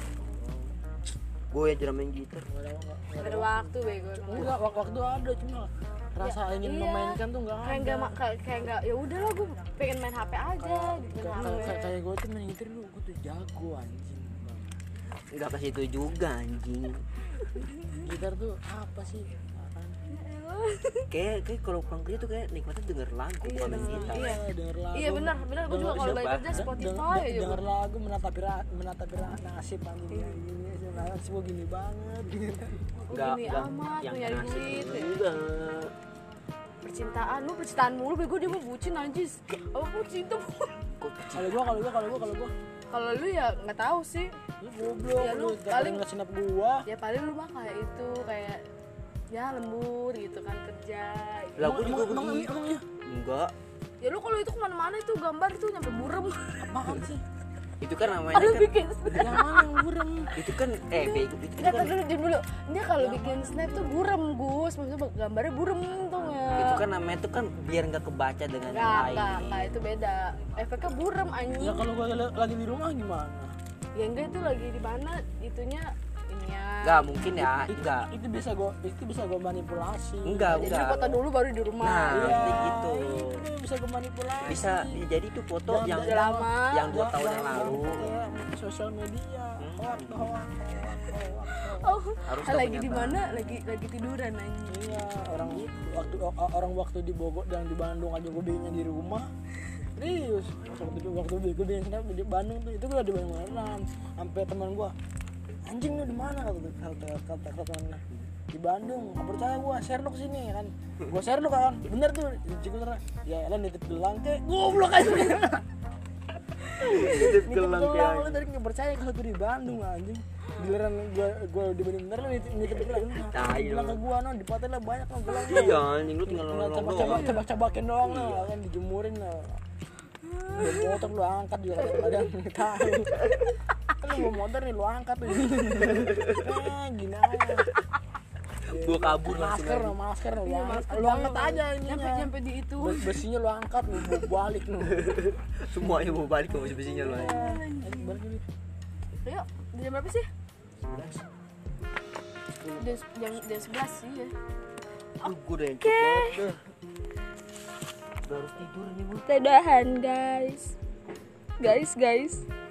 [SPEAKER 3] gue yang jarang main gitar
[SPEAKER 2] Enggak ada enggak.
[SPEAKER 1] Gak ada waktu bego emang.
[SPEAKER 2] Enggak, wak- waktu ada cuma rasa ingin
[SPEAKER 1] iya.
[SPEAKER 2] memainkan tuh enggak
[SPEAKER 1] kayak
[SPEAKER 2] ada. Oh,
[SPEAKER 1] nggak ma- kayak kayak nggak ya udah lah gue pengen main HP aja gitu main
[SPEAKER 2] Kayak-
[SPEAKER 1] HP
[SPEAKER 2] kayak kayak gue tuh main gitar dulu, gue tuh jago anjing. Bang.
[SPEAKER 3] nggak ke situ juga anjing
[SPEAKER 2] Gitar tuh apa sih? Apaan?
[SPEAKER 3] kayak kayak kalau pulang kerja tuh kayak nikmatnya denger lagu bukan main gitar
[SPEAKER 1] Iya.
[SPEAKER 2] Eh, denger lagu.
[SPEAKER 1] iya benar benar gue juga
[SPEAKER 3] Lu
[SPEAKER 1] kalau
[SPEAKER 3] siapa?
[SPEAKER 1] balik kerja
[SPEAKER 2] Den-
[SPEAKER 1] Spotify
[SPEAKER 2] den-
[SPEAKER 1] aja
[SPEAKER 2] denger
[SPEAKER 1] gua.
[SPEAKER 2] lagu menatapi ra- menatapi ra- nasib anjing anjing anjing, nasib gua gini banget gitu.
[SPEAKER 1] Lu gini amat
[SPEAKER 3] yang
[SPEAKER 1] lu nyari
[SPEAKER 3] asik
[SPEAKER 1] duit ya.
[SPEAKER 3] juga
[SPEAKER 1] percintaan lu percintaan mulu bego dia mau bucin anjis aku cinta mulu
[SPEAKER 2] kalau gua kalau gua kalau gua kalau gua
[SPEAKER 1] kalau lu ya nggak tahu sih
[SPEAKER 2] lu goblok
[SPEAKER 1] Ya,
[SPEAKER 2] lu
[SPEAKER 1] lu
[SPEAKER 2] jangan
[SPEAKER 1] paling-
[SPEAKER 2] ngeliat snap gua
[SPEAKER 1] ya paling lu mah kayak itu kayak ya lembur gitu kan kerja
[SPEAKER 3] lah gue juga
[SPEAKER 2] Emang- emang-
[SPEAKER 3] begitu
[SPEAKER 2] emang iya?
[SPEAKER 3] enggak
[SPEAKER 1] ya lu kalau itu kemana-mana itu gambar itu nyampe burem
[SPEAKER 2] apaan sih
[SPEAKER 3] itu kan namanya
[SPEAKER 1] lu
[SPEAKER 3] kan
[SPEAKER 1] bikin
[SPEAKER 2] yang mana yang burem
[SPEAKER 3] itu kan eh bego itu
[SPEAKER 1] Nggak,
[SPEAKER 3] kan
[SPEAKER 1] tar dulu, diam dulu. Dia
[SPEAKER 3] Iya,
[SPEAKER 1] kalau bikin snap tuh burem, Gus. Maksudnya gambarnya burem tuh nggak?
[SPEAKER 3] itu kan namanya itu kan biar nggak kebaca dengan yang
[SPEAKER 1] Nggak, nggak,
[SPEAKER 3] lain
[SPEAKER 1] nggak. Itu beda. Efeknya burem,
[SPEAKER 2] ya
[SPEAKER 3] Iya.
[SPEAKER 1] anjing.
[SPEAKER 2] kalau gua la- lagi di rumah gimana
[SPEAKER 1] Ya enggak, itu lagi di mana itunya ini ya.
[SPEAKER 3] nggak mungkin ya enggak
[SPEAKER 2] itu bisa gua itu bisa gua manipulasi Ya,
[SPEAKER 3] enggak
[SPEAKER 1] Jadi
[SPEAKER 3] enggak
[SPEAKER 1] lu foto dulu baru di
[SPEAKER 3] nah
[SPEAKER 1] rumah.
[SPEAKER 3] mesti gitu
[SPEAKER 2] itu bisa gua manipulasi
[SPEAKER 3] bisa jadi tuh foto
[SPEAKER 2] Dan-
[SPEAKER 3] yang
[SPEAKER 1] Udah lama.
[SPEAKER 3] yang dua
[SPEAKER 2] Gua-
[SPEAKER 3] tahun
[SPEAKER 2] gua-
[SPEAKER 3] yang lalu Hmm.
[SPEAKER 2] gua- gua- sosial media hoak hoak hoak hoak
[SPEAKER 1] Oh,
[SPEAKER 3] Harus
[SPEAKER 1] ah,
[SPEAKER 3] dong
[SPEAKER 1] lagi di
[SPEAKER 3] ternyata.
[SPEAKER 1] mana? Lagi lagi tiduran anjing.
[SPEAKER 2] iya orang waktu o- orang waktu di Bogor dan di Bandung aja gue bikinnya di rumah serius waktu di waktu di gue bikin snap di Bandung tuh itu gue di Bandung beneran sampai teman gue anjing lu di mana kata kata kata, kata teman gue di Bandung nggak percaya gue share lu ke sini kan gue share lu kan bener tuh ciku terus ya elah nitip gelang kek goblok aja nitip
[SPEAKER 3] Nitip gelang,
[SPEAKER 2] gelang
[SPEAKER 3] Kiai.
[SPEAKER 2] lu tadi nggak percaya kalau gue di Bandung anjing giliran gue gue di Bandung bener lu nitip nitip gelang Lu ngapain
[SPEAKER 3] Tai lu.
[SPEAKER 2] gelang ke gue no di pantai lah banyak no gelang no.
[SPEAKER 3] iya anjing lu tinggal
[SPEAKER 2] Tinggal
[SPEAKER 3] nolong
[SPEAKER 2] coba-coba
[SPEAKER 3] doang
[SPEAKER 2] coba-cobakin doang lah kan dijemurin lah. Bawa motor lu angkat juga kata badan tahu. Kan lu bawa motor nih lu angkat tuh. Eh, gini aja.
[SPEAKER 3] gua kabur langsung
[SPEAKER 2] Masker,
[SPEAKER 3] aja.
[SPEAKER 2] masker lu
[SPEAKER 3] Nah,
[SPEAKER 1] Iya,
[SPEAKER 2] angkat,
[SPEAKER 1] masker
[SPEAKER 2] lu
[SPEAKER 1] dong.
[SPEAKER 2] angkat aja ini.
[SPEAKER 1] Nyampe nyampe di itu.
[SPEAKER 2] Besinya lu angkat, lu bawa balik lu.
[SPEAKER 3] semuanya mau balik ke besi-besinya lu anjing.
[SPEAKER 2] Eh, balik dulu.
[SPEAKER 1] Yuk, di jam berapa sih? Jam jam jam 11 sih ya.
[SPEAKER 3] Aduh, gua udah encok banget dah. Udah harus tidur nih gua
[SPEAKER 1] Tedahan, guys. Guys, guys.